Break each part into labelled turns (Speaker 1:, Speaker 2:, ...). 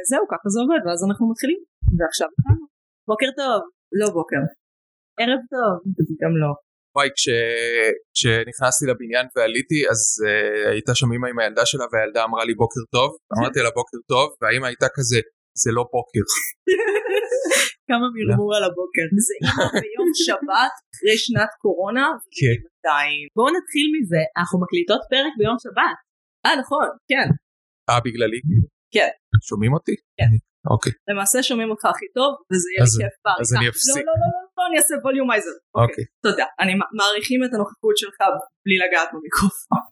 Speaker 1: וזהו ככה זה עובד ואז אנחנו מתחילים ועכשיו התחלנו. בוקר טוב לא בוקר ערב טוב גם לא
Speaker 2: וואי, כש... כשנכנסתי לבניין ועליתי, אז uh, הייתה שם אימא עם הילדה שלה, והילדה אמרה לי בוקר טוב.
Speaker 1: כן.
Speaker 2: אמרתי לה בוקר טוב, והאימא הייתה כזה, זה לא בוקר.
Speaker 1: כמה מרמור על הבוקר זה אימא ביום שבת אחרי שנת קורונה
Speaker 2: כן.
Speaker 1: עדיין בואו נתחיל מזה אנחנו מקליטות פרק ביום שבת אה נכון כן
Speaker 2: אה, בגללי?
Speaker 1: כן.
Speaker 2: שומעים אותי?
Speaker 1: כן.
Speaker 2: אוקיי,
Speaker 1: למעשה שומעים אותך הכי טוב וזה יהיה לי
Speaker 2: אז-
Speaker 1: כיף בעריכה
Speaker 2: אז אני
Speaker 1: לא
Speaker 2: אפסיק.
Speaker 1: לא לא לא, לא אני אעשה ווליומייזר
Speaker 2: אוקיי.
Speaker 1: תודה אני מע- מעריכים את הנוכחות שלך בלי לגעת במיקרופון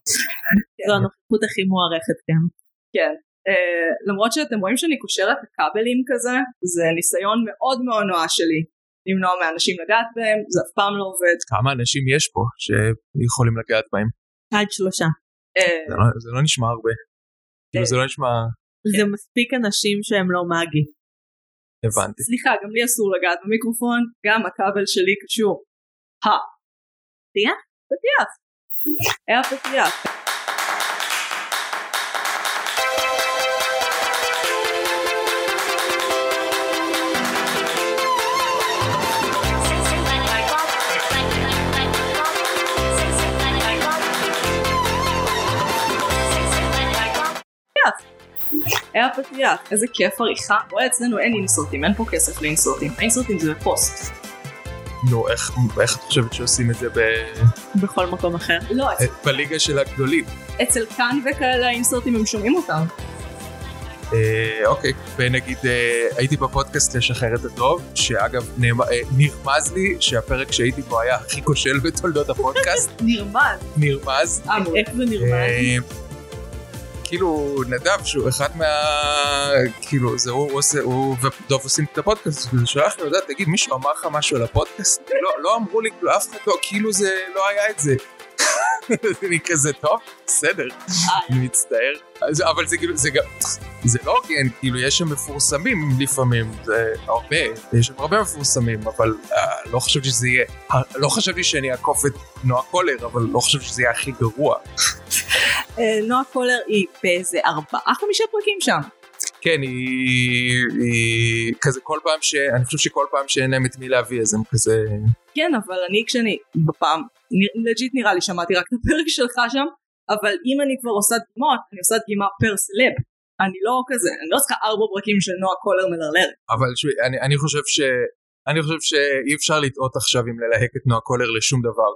Speaker 1: זו הנוכחות הכי מוערכת גם כן אה, למרות שאתם רואים שאני קושרת הכבלים כזה זה ניסיון מאוד מאוד נואש שלי למנוע מאנשים לגעת בהם זה אף פעם לא עובד
Speaker 2: כמה אנשים יש פה שיכולים לגעת בהם?
Speaker 1: כן.
Speaker 3: עד שלושה.
Speaker 1: אה,
Speaker 2: זה לא- זה לא נשמע הרבה.
Speaker 1: כן.
Speaker 2: כאילו זה לא נשמע...
Speaker 3: זה מספיק אנשים שהם לא מאגי.
Speaker 2: הבנתי.
Speaker 1: סליחה גם לי אסור לגעת במיקרופון גם הכבל שלי קשור. ה. פתיח? פתיח. היה פתיח. היה פתיח. איזה כיף עריכה. רואה אצלנו אין אינסרטים אין פה כסף לאינסרטים. האינסרטים זה בפוסט.
Speaker 2: נו, איך- איך את חושבת שעושים את זה ב-
Speaker 3: בכל מקום אחר.
Speaker 1: לא אצ-
Speaker 2: בליגה של הגדולים?
Speaker 1: אצל כאן וכאלה האינסרטים הם שומעים אותם.
Speaker 2: אה, אוקיי, ונגיד אה, הייתי בפודקאסט לשחרר את הטוב, שאגב נאמ- אה, נרמז לי שהפרק שהייתי בו היה הכי כושל בתולדות הפודקאסט,
Speaker 1: נרמז.
Speaker 2: נרמז,
Speaker 1: אמור.
Speaker 3: איך זה נרמז?
Speaker 2: אה, כאילו נדב שהוא אחד מה... כאילו זה הוא עושה, הוא ודוב עושים את הפודקאסט, הוא שלח לי הודעה, תגיד מישהו אמר לך משהו על הפודקאסט? לא, לא אמרו לי, כאילו אף אחד לא, כאילו זה לא היה את זה. אני כזה טוב, בסדר, אני מצטער. אז- אבל זה כאילו, זה גם, זה לא הוגן, כאילו יש שם מפורסמים לפעמים, זה הרבה, יש שם הרבה מפורסמים, אבל אה, לא חשבתי שזה יהיה, לא חשבתי שאני אעקוף את נועה קולר, אבל לא חשבתי שזה יהיה הכי גרוע.
Speaker 1: אה, נועה קולר היא באיזה ארבעה חמישה פרקים שם.
Speaker 2: כן, היא, היא כזה כל פעם ש... אני חושב שכל פעם שאין להם את מי להביא אז הם כזה...
Speaker 1: כן אבל אני כשאני בפעם נ- לג'יט נראה לי שמעתי רק את הפרק שלך שם אבל אם אני כבר עושה דגימות אני עושה דגימה פר סלב אני לא כזה אני לא צריכה ארבע פרקים של נועה קולר מלרלר
Speaker 2: אבל ש... אני, אני חושב ש... אני חושב שאי אפשר לטעות עכשיו עם ללהק את נועה קולר לשום דבר.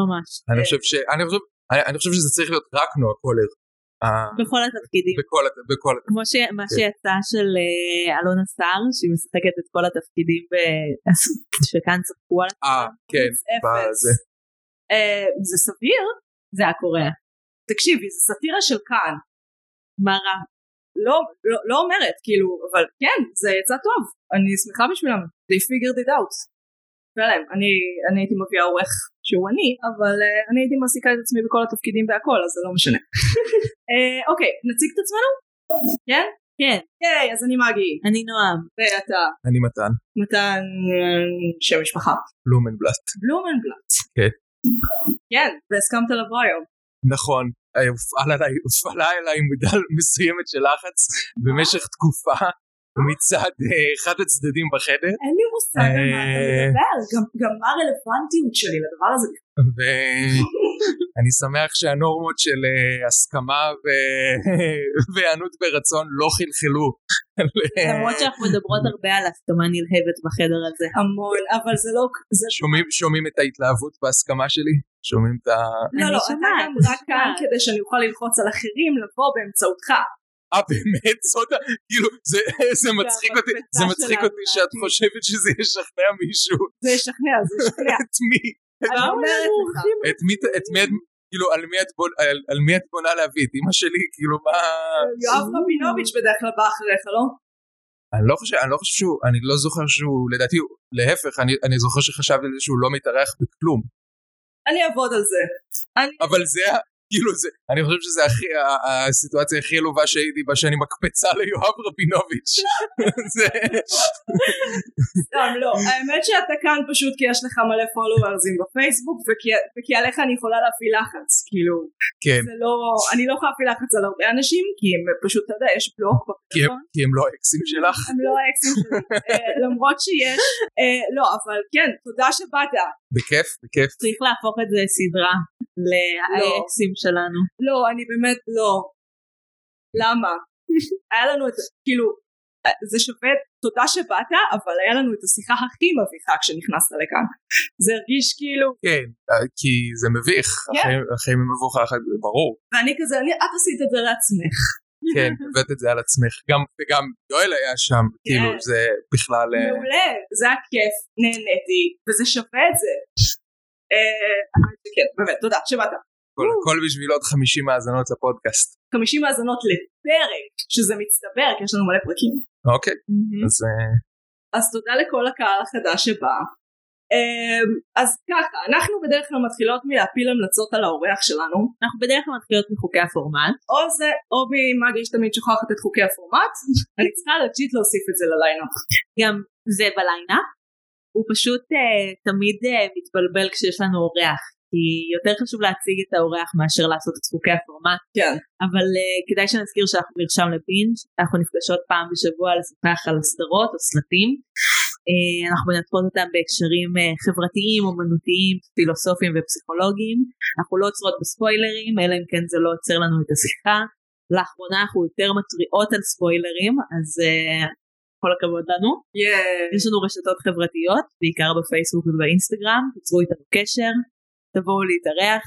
Speaker 3: ממש.
Speaker 2: אני חושב ש... אני חושב, אני, אני חושב שזה צריך להיות רק נועה קולר. אה,
Speaker 3: בכל התפקידים.
Speaker 2: בכל... הת- בכל... הת-
Speaker 3: כמו ש... מה שיצא של אה, אלונה סער, שהיא משחקת את כל התפקידים ב... שכאן צחקו על
Speaker 2: אה, כן.
Speaker 1: אפס
Speaker 2: בזה.
Speaker 1: אה, זה סביר
Speaker 3: זה הקוריאה.
Speaker 1: תקשיבי זה סאטירה של כאן
Speaker 3: מה רע?
Speaker 1: לא, לא, לא אומרת כאילו אבל כן זה יצא טוב אני שמחה בשבילם they figured it out שלהם אני, אני הייתי מביאה עורך שהוא אני אבל uh, אני הייתי מעסיקה את עצמי בכל התפקידים והכל אז זה לא משנה אה, אוקיי נציג את עצמנו? כן?
Speaker 3: כן,
Speaker 1: היי אז אני מגי
Speaker 3: אני נועם.
Speaker 1: ואתה
Speaker 2: אני מתן.
Speaker 1: מתן אה, שם משפחה
Speaker 2: בלומנבלט.
Speaker 1: בלומנבלט
Speaker 2: כן.
Speaker 1: כן והסכמת לבוא היום
Speaker 2: נכון. אה, הופעל עליי, הופעלה עליי מידה מסוימת של לחץ במשך תקופה מצד אה, אחד הצדדים בחדר.
Speaker 1: אין לי מושג על מה אתה
Speaker 2: אה.
Speaker 1: מדבר גם- גם מה הרלוונטיות שלי לדבר הזה
Speaker 2: ואני שמח שהנורמות של אה, הסכמה ו... והיענות ברצון לא חלחלו.
Speaker 3: אה, למרות שאנחנו מדברות הרבה על הסכמה נלהבת בחדר הזה.
Speaker 1: המון אבל זה לא זה
Speaker 2: שומעים, שומעים את ההתלהבות בהסכמה שלי? שומעים את ה...
Speaker 1: לא,
Speaker 3: אה, אני
Speaker 1: לא, אתה
Speaker 3: שומעת,
Speaker 1: גם
Speaker 3: אני
Speaker 1: רק כאן
Speaker 3: שומעת.
Speaker 1: כדי שאני אוכל ללחוץ על אחרים לבוא באמצעותך.
Speaker 2: אה באמת? זאת ה... כאילו, זה, זה מצחיק אותי, זה מצחיק אותי שאת חושבת שזה ישכנע מישהו.
Speaker 1: זה ישכנע, זה ישכנע.
Speaker 2: את מי?
Speaker 1: אני אומרת לך.
Speaker 2: את מי? את- את מי? את- כאילו, על מי את בונה, על, על מי את בונה להביא? את אמא שלי? כאילו, מה...
Speaker 1: יואב רבינוביץ' בדרך כלל בא אחריך, לא?
Speaker 2: אני לא חושב, אני לא חושב שהוא, אני לא זוכר שהוא, לדעתי, הוא- להפך, אני, אני זוכר שחשבתי על זה שהוא לא מתארח בכלום.
Speaker 1: אני אעבוד על זה.
Speaker 2: אבל זה, ה- כאילו זה, אני חושב שזה הכי, ה- ה- הסיטואציה הכי עלובה שהייתי בה שאני מקפצה ליואב רבינוביץ'. זה,
Speaker 1: סתם לא. האמת שאתה כאן פשוט כי יש לך מלא פולוורזים בפייסבוק וכי- וכי עליך אני יכולה להפעיל לחץ, כאילו.
Speaker 2: כן,
Speaker 1: זה לא, אני לא יכולה להפעיל לחץ על הרבה אנשים כי הם פשוט, אתה יודע, יש בלוק
Speaker 2: כי הם-
Speaker 1: בפלאפון.
Speaker 2: כי הם לא האקסים שלך.
Speaker 1: הם לא האקסים שלי. אה, למרות שיש, אה, לא, אבל כן, תודה שבאת.
Speaker 2: בכיף, בכיף.
Speaker 3: צריך להפוך את זה לסדרה, לאקסים שלנו.
Speaker 1: לא, אני באמת לא. למה? היה לנו את, כאילו, אה, זה שווה תודה שבאת, אבל היה לנו את השיחה הכי מביכה כשנכנסת לכאן. זה הרגיש כאילו,
Speaker 2: כן, אה, כי זה מביך,
Speaker 1: כן.
Speaker 2: החיים- החיים הם מבוכה אחת, זה ברור.
Speaker 1: ואני כזה, אני, את עשית את זה לעצמך.
Speaker 2: כן, הבאת את זה על עצמך. גם- וגם יואל היה שם, כאילו זה בכלל... אה,
Speaker 1: מעולה, זה היה כיף, נהניתי, וזה שווה את זה. אה, כן, באמת, תודה שבאת.
Speaker 2: הכל, הכל בשביל עוד 50 האזנות לפודקאסט.
Speaker 1: 50 האזנות לפרק, שזה מצטבר, כי יש לנו מלא פרקים.
Speaker 2: אוקיי, אז אה,
Speaker 1: אז תודה לכל הקהל החדש שבא. אמ, אז ככה, אנחנו בדרך כלל מתחילות מלהפיל המלצות על האורח שלנו,
Speaker 3: אנחנו בדרך כלל מתחילות מחוקי הפורמט.
Speaker 1: או זה, או ממגי שתמיד שוכחת את חוקי הפורמט, אני צריכה להג'ית להוסיף את זה לליינאפ.
Speaker 3: גם זה בלילה. הוא פשוט אה, תמיד אה, מתבלבל כשיש לנו אורח, כי יותר חשוב להציג את האורח מאשר לעשות את חוקי הפורמט.
Speaker 1: כן.
Speaker 3: אבל אה, כדאי שנזכיר שאנחנו מרשם לבינג', אנחנו נפגשות פעם בשבוע לשוחח על סדרות או סרטים. אה, אנחנו מנתחות אותם בהקשרים אה, חברתיים, אומנותיים, פילוסופיים ופסיכולוגיים. אנחנו לא עוצרות בספוילרים, אלא אם כן זה לא עוצר לנו את השיחה. לאחרונה אנחנו יותר מתריעות על ספוילרים, אז אה, כל הכבוד לנו.
Speaker 1: יש
Speaker 3: יש לנו רשתות חברתיות, בעיקר בפייסבוק ובאינסטגרם, תיצרו איתנו קשר, תבואו להתארח,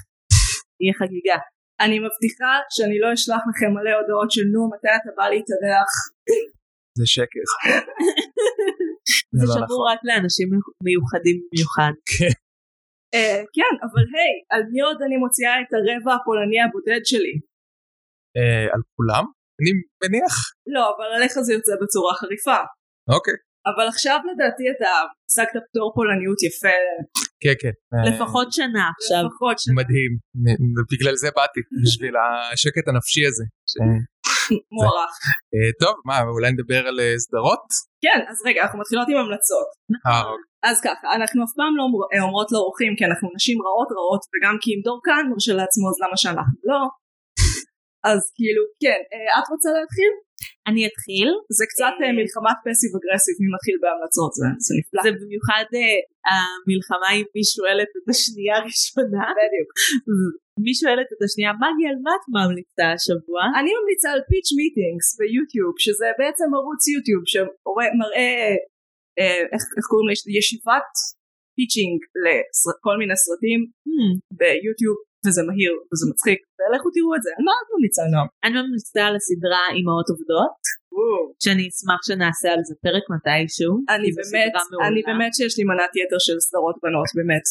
Speaker 3: יהיה חגיגה.
Speaker 1: אני מבטיחה שאני לא אשלח לכם מלא הודעות של נו מתי אתה בא להתארח.
Speaker 2: זה שקר. זה
Speaker 3: זה
Speaker 2: לא
Speaker 3: שמור
Speaker 2: נכון.
Speaker 3: רק לאנשים מיוחדים במיוחד.
Speaker 1: אה, כן, אבל היי, על מי עוד אני מוציאה את הרבע הפולני הבודד שלי?
Speaker 2: אה, על כולם? אני מניח.
Speaker 1: לא, אבל עליך זה יוצא בצורה חריפה.
Speaker 2: אוקיי,
Speaker 1: אבל עכשיו לדעתי אתה השגת פטור פולניות יפה,
Speaker 2: כן, כן. אה,
Speaker 3: לפחות שנה עכשיו.
Speaker 1: לפחות ש...
Speaker 2: מדהים. מ- מ- בגלל זה באתי, בשביל השקט הנפשי הזה. ש-
Speaker 1: מוערך.
Speaker 2: אה, טוב, מה, אולי נדבר על אה, סדרות?
Speaker 1: כן, אז רגע, אנחנו מתחילות עם המלצות.
Speaker 2: אה, אוקיי.
Speaker 1: אז ככה, אנחנו אף פעם לא אומר- אומרות לאורחים כי אנחנו נשים רעות רעות, וגם כי אם דורקן מרשה לעצמו אז למה שאנחנו לא? אז כאילו, כן, אה, את רוצה להתחיל?
Speaker 3: אני אתחיל,
Speaker 1: זה קצת אה, מלחמת פסיב אגרסיב, מי מתחיל בהמלצות, זה זה נפלא.
Speaker 3: זה במיוחד אה, המלחמה אם מי שואלת את השנייה הראשונה.
Speaker 1: בדיוק.
Speaker 3: מי שואלת את השנייה, מגי, על מה את ממליצה השבוע?
Speaker 1: אני ממליצה על פיץ' מיטינגס ביוטיוב, שזה בעצם ערוץ יוטיוב שמראה, אה, איך איך קוראים לזה, ישיבת פיצ'ינג לכל מיני סרטים
Speaker 3: Hmm,
Speaker 1: ביוטיוב, וזה מהיר וזה מצחיק, ולכו תראו את זה. על מה את ממליצה, נועם?
Speaker 3: אני ממליצה על הסדרה אמהות עובדות, שאני אשמח שנעשה על זה פרק מתישהו.
Speaker 1: אני
Speaker 3: כי זו
Speaker 1: באמת,
Speaker 3: סדרה מעולה.
Speaker 1: אני באמת שיש לי מנת יתר של סדרות בנות, באמת.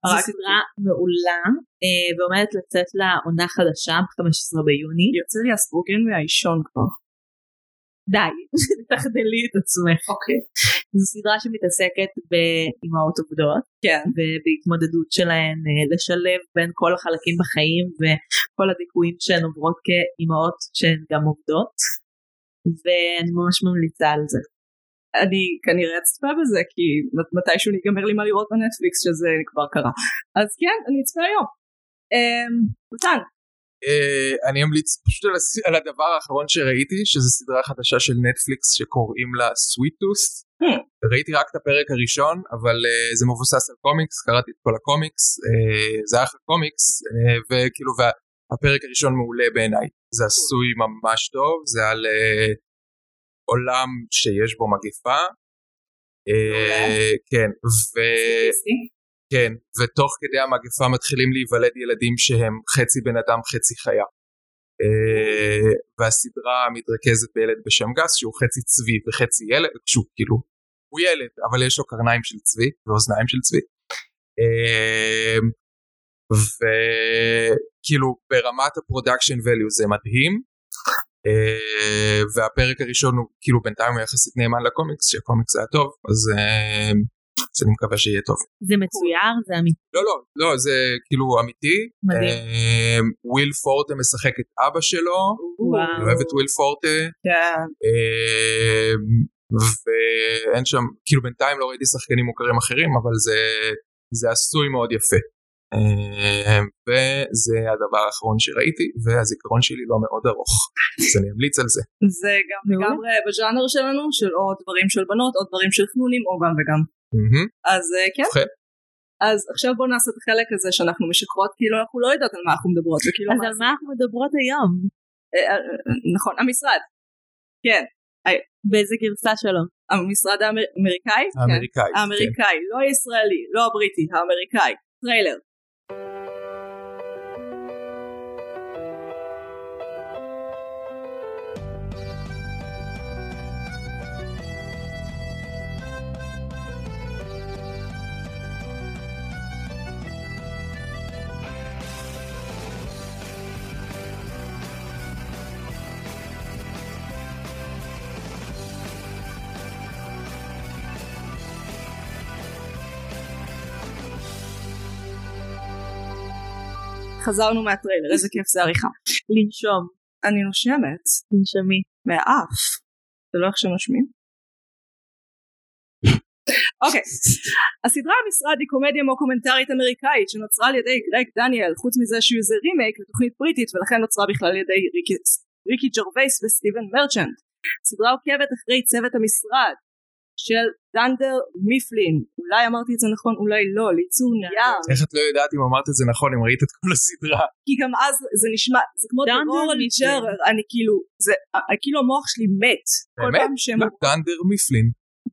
Speaker 3: זו
Speaker 1: רק
Speaker 3: סדרה מעולה אה, ועומדת לצאת לה עונה חדשה ב-15 ביוני.
Speaker 1: יוצא לי הספרוגן מהאישון כבר.
Speaker 3: די, תחדלי את עצמך.
Speaker 1: אוקיי.
Speaker 3: זו סדרה שמתעסקת באימהות עובדות
Speaker 1: כן.
Speaker 3: ובהתמודדות שלהן אה, לשלב בין כל החלקים בחיים וכל הדיכויים שהן עוברות כאימהות שהן גם עובדות. ואני ממש ממליצה על זה.
Speaker 1: אני כנראה אצפה בזה, כי מת- מתישהו ייגמר לי מה לראות בנטפליקס, שזה כבר קרה. אז כן, אני אצפה היום. אמ, מתן,
Speaker 2: אה, אני אמליץ פשוט על הס- על הדבר האחרון שראיתי, שזו סדרה חדשה של נטפליקס שקוראים לה סוויט טוס.
Speaker 1: Hmm.
Speaker 2: ראיתי רק את הפרק הראשון, אבל אה, זה מבוסס על קומיקס, קראתי את כל הקומיקס, אה, זה היה אחלה קומיקס, אה, וכאילו, וה- הפרק הראשון מעולה בעיניי. זה עשוי ממש טוב, זה על אה, עולם שיש בו מגפה. אה, כן, ו...
Speaker 1: סטטיסטי.
Speaker 2: כן, ותוך כדי המגפה מתחילים להיוולד ילדים שהם חצי בן אדם חצי חיה. אה, והסדרה מתרכזת בילד בשם גס שהוא חצי צבי וחצי ילד, שהוא כאילו, הוא ילד אבל יש לו קרניים של צבי ואוזניים של צבי. אה, וכאילו ברמת הפרודקשן value זה מדהים. אה, והפרק הראשון הוא כאילו בינתיים הוא יחסית נאמן לקומיקס שהקומיקס היה טוב אז אה, אז אני מקווה שיהיה טוב.
Speaker 3: זה מצויר, זה אמיתי.
Speaker 2: לא, לא, לא, זה כאילו אמיתי.
Speaker 3: מדהים.
Speaker 2: אה, וויל פורטה משחק את אבא שלו,
Speaker 3: וואו.
Speaker 2: אני אוהב את וויל פורטה.
Speaker 1: כן.
Speaker 2: אה, ואין שם, כאילו בינתיים לא ראיתי שחקנים מוכרים אחרים, אבל זה, זה עשוי מאוד יפה. אה, וזה הדבר האחרון שראיתי, והזיכרון שלי לא מאוד ארוך, אז אני אמליץ על זה.
Speaker 1: זה גם
Speaker 3: מעולה.
Speaker 1: לגמרי בז'אנר שלנו, של או דברים של בנות, או דברים של חנונים, או גם וגם.
Speaker 2: מהמם.
Speaker 1: אז אה, כן.
Speaker 2: ובכן,
Speaker 1: אז עכשיו בואו נעשה את החלק הזה שאנחנו משקרות, כאילו אנחנו לא יודעות על מה אנחנו מדברות, וכאילו...
Speaker 3: אז
Speaker 1: מה-
Speaker 3: על מה אנחנו מדברות היום?
Speaker 1: אה, אה, אה, נכון, המשרד. כן,
Speaker 3: באיזה גרסה שלו?
Speaker 1: המשרד האמר- האמריקאי? כן.
Speaker 2: האמריקאי. כן.
Speaker 1: האמריקאי, לא הישראלי, לא הבריטי, האמריקאי. טריילר. חזרנו מהטריילר, איזה כיף זה עריכה.
Speaker 3: לנשום.
Speaker 1: אני נושמת
Speaker 3: תנשמי.
Speaker 1: מהאף. זה לא איך שנושמים? אוקיי. הסדרה המשרד היא קומדיה מוקומנטרית אמריקאית שנוצרה על ידי גרג דניאל, חוץ מזה שהוא איזה רימייק לתוכנית בריטית ולכן נוצרה בכלל על ידי ריקי, ריקי ג'רווייס וסטיבן מרצ'נט. הסדרה עוקבת אחרי צוות המשרד של דנדר מיפלין, אולי אמרתי את זה נכון, אולי לא, ליצור נייר,
Speaker 2: איך את לא יודעת אם אמרת את זה נכון, אם ראית את כל הסדרה?
Speaker 1: כי גם אז זה נשמע, זה כמו
Speaker 3: דנדר
Speaker 1: טרור על
Speaker 3: מיפלין.
Speaker 1: ג'רר, אני כאילו, זה, כאילו המוח שלי מת. כל
Speaker 2: באמת? לא
Speaker 1: פעם שהם
Speaker 2: דנדר מיפלין.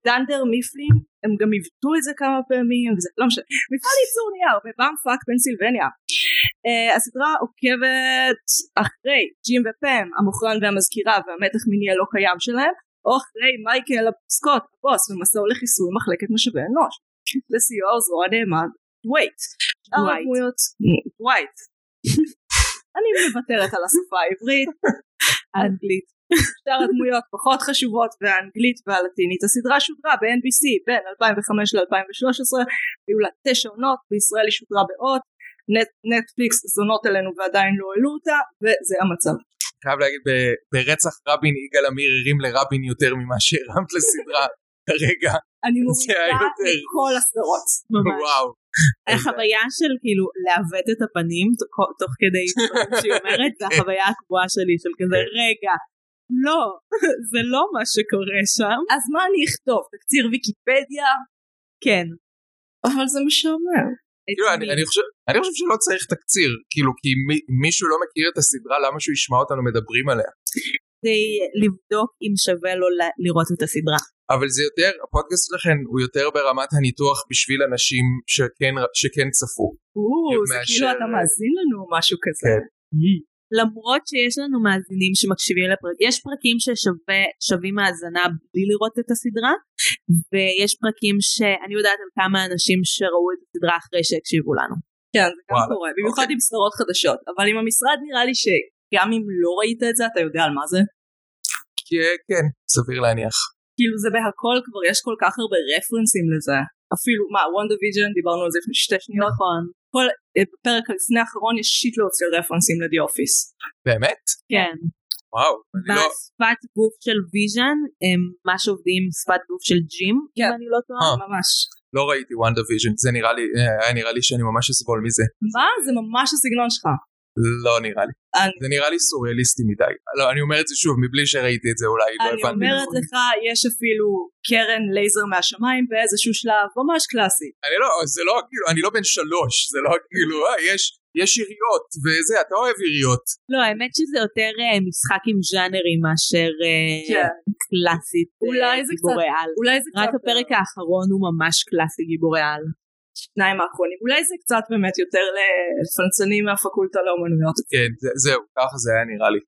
Speaker 1: דנדר מיפלין, הם גם עיוותו את זה כמה פעמים, וזה לא משנה. מפעל ייצור נייר בבאמפאק פנסילבניה. Uh, הסדרה עוקבת אחרי ג'ים ופם, המוכרן והמזכירה והמתח מיני הלא קיים שלהם, או אחרי מייקל סקוט, הבוס, במסעו לחיסול מחלקת משאבי אנוש. לסיוע עוזרו הנאמן, דווייט. שאר
Speaker 3: דווייט.
Speaker 1: הדמויות, דווייט. אני מוותרת על השפה העברית.
Speaker 3: אנגלית.
Speaker 1: שאר הדמויות פחות חשובות והאנגלית והלטינית. הסדרה שודרה ב-NBC בין 2005 ל-2013, היו לה תשע עונות, בישראל היא שודרה באות, נט, נטפליקס זונות אלינו ועדיין לא העלו אותה, וזה המצב.
Speaker 2: חייב להגיד, ב- ברצח רבין יגאל עמיר הרים לרבין יותר ממה שהרמת לסדרה כרגע.
Speaker 1: אני
Speaker 2: זה היה
Speaker 1: מופיעה
Speaker 2: יותר.
Speaker 1: לכל הסדרות.
Speaker 3: ממש.
Speaker 2: וואו.
Speaker 3: החוויה של כאילו לעוות את הפנים תוך- תוך כדי דברים שהיא אומרת,
Speaker 1: כן.
Speaker 3: זה החוויה הקבועה שלי של כזה רגע. לא, זה לא מה שקורה שם.
Speaker 1: אז מה אני אכתוב? תקציר ויקיפדיה?
Speaker 3: כן.
Speaker 1: אבל זה משעמם.
Speaker 2: כאילו, אני, אני, חושב, אני חושב שלא צריך תקציר, כאילו, כי מי, מישהו לא מכיר את הסדרה, למה שהוא ישמע אותנו מדברים עליה?
Speaker 3: כדי לבדוק אם שווה לו ל- לראות את הסדרה.
Speaker 2: אבל זה יותר, הפודקאסט שלכם הוא יותר ברמת הניתוח בשביל אנשים שכן, שכן צפו.
Speaker 1: או, זה כאילו
Speaker 2: מאשר-
Speaker 1: אתה מאזין לנו או משהו כזה.
Speaker 2: כן.
Speaker 3: למרות שיש לנו מאזינים שמקשיבים לפרקים, יש פרקים ששווים האזנה בלי לראות את הסדרה, ויש פרקים שאני יודעת על כמה אנשים שראו את הסדרה אחרי שהקשיבו לנו.
Speaker 1: כן, זה גם
Speaker 2: וואלה,
Speaker 1: קורה, במיוחד
Speaker 2: אוקיי.
Speaker 1: עם סדרות חדשות. אבל עם המשרד נראה לי שגם אם לא ראית את זה, אתה יודע על מה זה.
Speaker 2: כי, אה, כן, סביר להניח.
Speaker 1: כאילו זה בהכל כבר יש כל כך הרבה רפרנסים לזה אפילו מה וונדה ויג'ן דיברנו על זה לפני שתי שניות
Speaker 3: נכון.
Speaker 1: אה, בפרק לפני האחרון יש שיטלוץ של רפרנסים לדי אופיס
Speaker 2: באמת?
Speaker 3: כן.
Speaker 2: וואו. אני לא,
Speaker 3: בשפת גוף של ויז'ן, הם ממש עובדים עם שפת גוף של ג'ים,
Speaker 1: כן.
Speaker 3: אם אני לא טועה.
Speaker 2: אה.
Speaker 1: ממש
Speaker 2: לא ראיתי וואן דיוויז'ן, זה נראה לי, אה, היה נראה לי שאני ממש אסבול מזה.
Speaker 1: מה זה ממש הסגנון שלך
Speaker 2: לא נראה לי.
Speaker 1: אני-
Speaker 2: זה נראה לי סוריאליסטי מדי. לא, אני אומר את זה שוב, מבלי שראיתי את זה אולי, לא
Speaker 1: אני
Speaker 2: הבנתי.
Speaker 1: אומרת לך יש אפילו קרן לייזר מהשמיים באיזשהו שלב ממש קלאסי
Speaker 2: אני לא, זה לא כאילו, אני לא בן שלוש, זה לא כאילו, אה, יש, יש עיריות, וזה, אתה אוהב עיריות.
Speaker 3: לא, האמת שזה יותר אה, משחק עם ז'אנרים מאשר אה,
Speaker 1: כן.
Speaker 3: קלאסית אה,
Speaker 1: אולי זה קצת-
Speaker 3: גיבורי על.
Speaker 1: אולי זה
Speaker 3: רק
Speaker 1: קצת אה,
Speaker 3: הפרק האחרון הוא ממש קלאסי גיבורי על.
Speaker 1: השניים האחרונים אולי זה קצת באמת יותר לפנצנים מהפקולטה לאומנויות
Speaker 2: כן, זה, זהו, ככה זה היה נראה לי.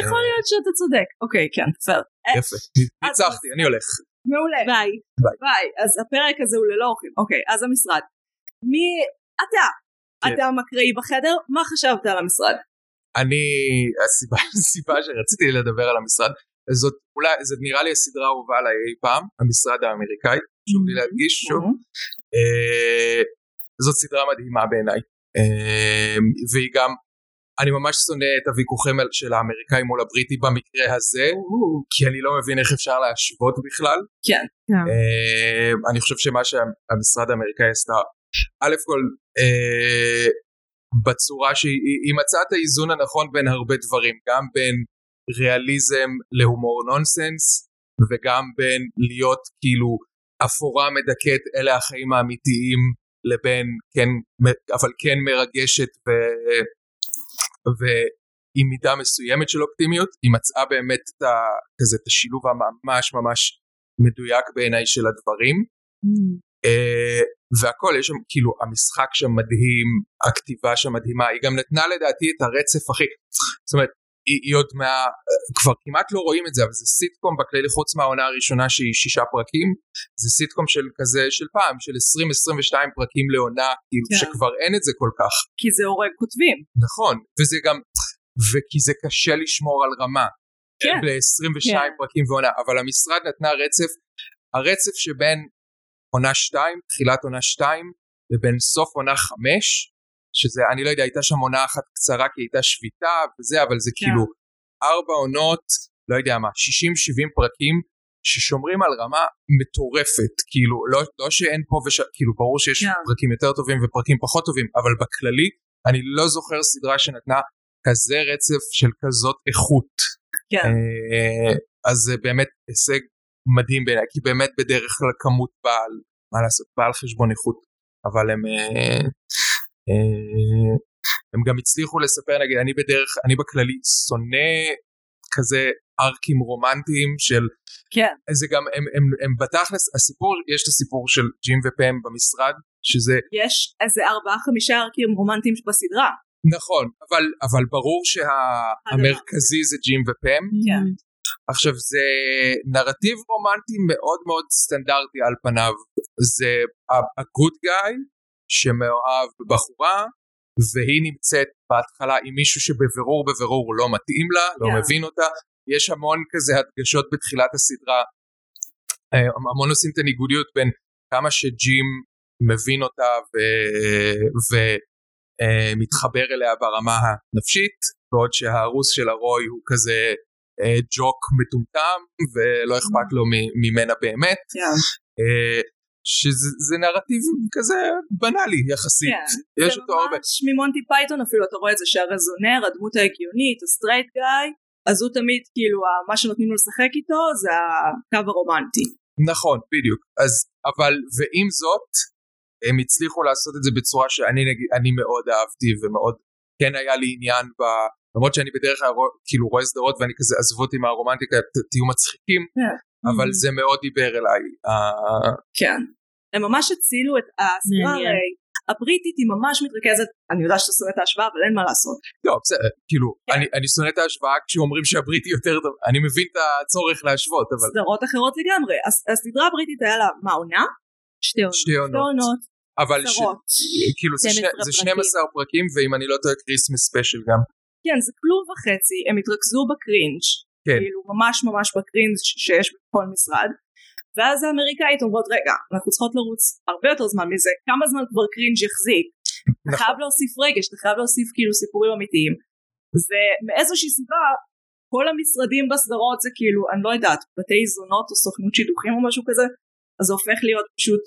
Speaker 1: יכול
Speaker 2: אה.
Speaker 1: להיות שאתה צודק אוקיי כן פייר
Speaker 2: יפה. ניצחתי, אני הולך.
Speaker 1: מעולה
Speaker 3: ביי.
Speaker 1: ביי, אז הפרק הזה הוא ללא אורחים. אוקיי, אז המשרד. מי... אתה.
Speaker 2: כן.
Speaker 1: אתה המקראי בחדר, מה חשבת על המשרד?
Speaker 2: אני, הסיבה, הסיבה שרציתי לדבר על המשרד, זאת אולי, זאת נראה לי הסדרה האהובה עליי אי פעם, המשרד האמריקאי. חשוב לי להדגיש שוב. אה, זאת סדרה מדהימה בעיניי. אה, והיא גם, אני ממש שונא את הוויכוחים על- של האמריקאי מול הבריטי במקרה הזה, כי אני לא מבין איך אפשר להשוות בכלל.
Speaker 1: כן.
Speaker 2: אה, אני חושב שמה שהמשרד האמריקאי עשתה, א' כל, אה, בצורה שהיא היא- היא מצאה את האיזון הנכון בין הרבה דברים, גם בין ריאליזם להומור נונסנס, וגם בין להיות כאילו אפורה מדכאת אלה החיים האמיתיים, לבין כן, מ- אבל כן מרגשת ו... ועם מידה מסוימת של אופטימיות, היא מצאה באמת את, ה... כזה, את השילוב הממש ממש מדויק בעיניי של הדברים.
Speaker 3: mm.
Speaker 2: אה, והכל, יש שם, כאילו, המשחק שם מדהים, הכתיבה שם מדהימה, היא גם נתנה לדעתי את הרצף הכי, זאת אומרת, היא, היא עוד מה... כבר כמעט לא רואים את זה, אבל זה סיטקום בכללי חוץ מהעונה הראשונה שהיא שישה פרקים, זה סיטקום של כזה, של פעם, של 20-22 פרקים לעונה, כאילו,
Speaker 1: כן.
Speaker 2: שכבר אין את זה כל כך.
Speaker 1: כי זה הורג כותבים.
Speaker 2: נכון, וזה גם, וכי זה קשה לשמור על רמה.
Speaker 1: כן.
Speaker 2: ל-22
Speaker 1: כן.
Speaker 2: פרקים ועונה, אבל המשרד נתנה רצף, הרצף שבין עונה 2, תחילת עונה 2, לבין סוף עונה 5, שזה, אני לא יודע, הייתה שם עונה אחת קצרה כי הייתה שביתה וזה, אבל זה
Speaker 1: כן.
Speaker 2: כאילו ארבע עונות, לא יודע מה, 60-70 פרקים. ששומרים על רמה מטורפת, כאילו, לא, לא שאין פה וש... כאילו, ברור שיש
Speaker 1: כן.
Speaker 2: פרקים יותר טובים ופרקים פחות טובים, אבל בכללי, אני לא זוכר סדרה שנתנה כזה רצף של כזאת איכות.
Speaker 1: כן.
Speaker 2: אה, אז זה באמת הישג מדהים בעיניי, כי באמת בדרך כלל כמות באה, על- מה לעשות, באה על חשבון איכות, אבל הם... אה, אה, הם גם הצליחו לספר, נגיד, אני בדרך, אני בכללי שונא כזה ארקים רומנטיים של
Speaker 1: כן.
Speaker 2: זה גם הם, הם, הם בתכלס הסיפור יש את הסיפור של ג'ים ופם במשרד שזה
Speaker 1: יש איזה ארבעה חמישה ערכים רומנטיים בסדרה.
Speaker 2: נכון אבל אבל ברור שהמרכזי זה ג'ים ופם
Speaker 1: כן.
Speaker 2: עכשיו זה נרטיב רומנטי מאוד מאוד סטנדרטי על פניו זה ה- ה-good guy שמאוהב בבחורה והיא נמצאת בהתחלה עם מישהו שבבירור בבירור לא מתאים לה, לא
Speaker 1: כן.
Speaker 2: מבין אותה, יש המון כזה הדגשות בתחילת הסדרה, אה, המון עושים את הניגודיות בין כמה שג'ים מבין אותה ומתחבר אליה ברמה הנפשית, בעוד שהרוס של הרוי הוא כזה אה, ג'וק מטומטם ולא אכפת לו מ- ממנה באמת.
Speaker 1: כן.
Speaker 2: אה, שזה זה נרטיב כזה בנאלי יחסית,
Speaker 1: כן,
Speaker 2: יש אותו הרבה.
Speaker 1: זה ממש ממונטי פייתון אפילו, אתה רואה את זה שהרזונר, הדמות ההגיונית, הסטרייט גאי, אז הוא תמיד כאילו ה- מה שנותנים לו לשחק איתו זה הקו הרומנטי.
Speaker 2: נכון, בדיוק. אז, אבל, ועם זאת, הם הצליחו לעשות את זה בצורה שאני נגיד, אני מאוד אהבתי ומאוד, כן היה לי עניין ב... למרות שאני בדרך כלל רוא- כאילו רואה סדרות ואני כזה עזבו אותי מהרומנטיקה, ת- תהיו מצחיקים,
Speaker 1: כן.
Speaker 2: אבל זה מאוד דיבר אליי. אה,
Speaker 1: כן. הם ממש הצילו את הסדרה
Speaker 3: מעניין.
Speaker 1: הרי הבריטית היא ממש מתרכזת, אני יודעת שאתה שונא את ההשוואה אבל אין מה לעשות.
Speaker 2: לא, בסדר, כאילו,
Speaker 1: כן.
Speaker 2: אני- אני שונא את ההשוואה כשאומרים שהבריטי יותר טוב, אני מבין את הצורך להשוות, אבל
Speaker 1: סדרות אחרות לגמרי. הס- הסדרה הבריטית היה לה מה עונה? שתי עונות.
Speaker 2: שתי עונות.
Speaker 1: עונות,
Speaker 2: אבל ש-
Speaker 1: סדרות.
Speaker 2: כאילו זה
Speaker 3: 12
Speaker 2: שני- זה
Speaker 3: פרקים.
Speaker 2: 12 פרקים, ואם אני לא טועה, כריסמס ספיישל גם.
Speaker 1: כן, זה כלום וחצי, הם התרכזו בקרינג',
Speaker 2: כן.
Speaker 1: כאילו ממש ממש בקרינג' ש- שיש בכל משרד, ואז האמריקאית אומרות, רגע, אנחנו צריכות לרוץ הרבה יותר זמן מזה, כמה זמן כבר קרינג' יחזיק, אתה
Speaker 2: נכון.
Speaker 1: חייב להוסיף רגש, אתה חייב להוסיף כאילו סיפורים אמיתיים, ומאיזושהי סיבה, כל המשרדים בסדרות זה כאילו, אני לא יודעת, בתי זונות או סוכנות שידוכים או משהו כזה, אז זה הופך להיות פשוט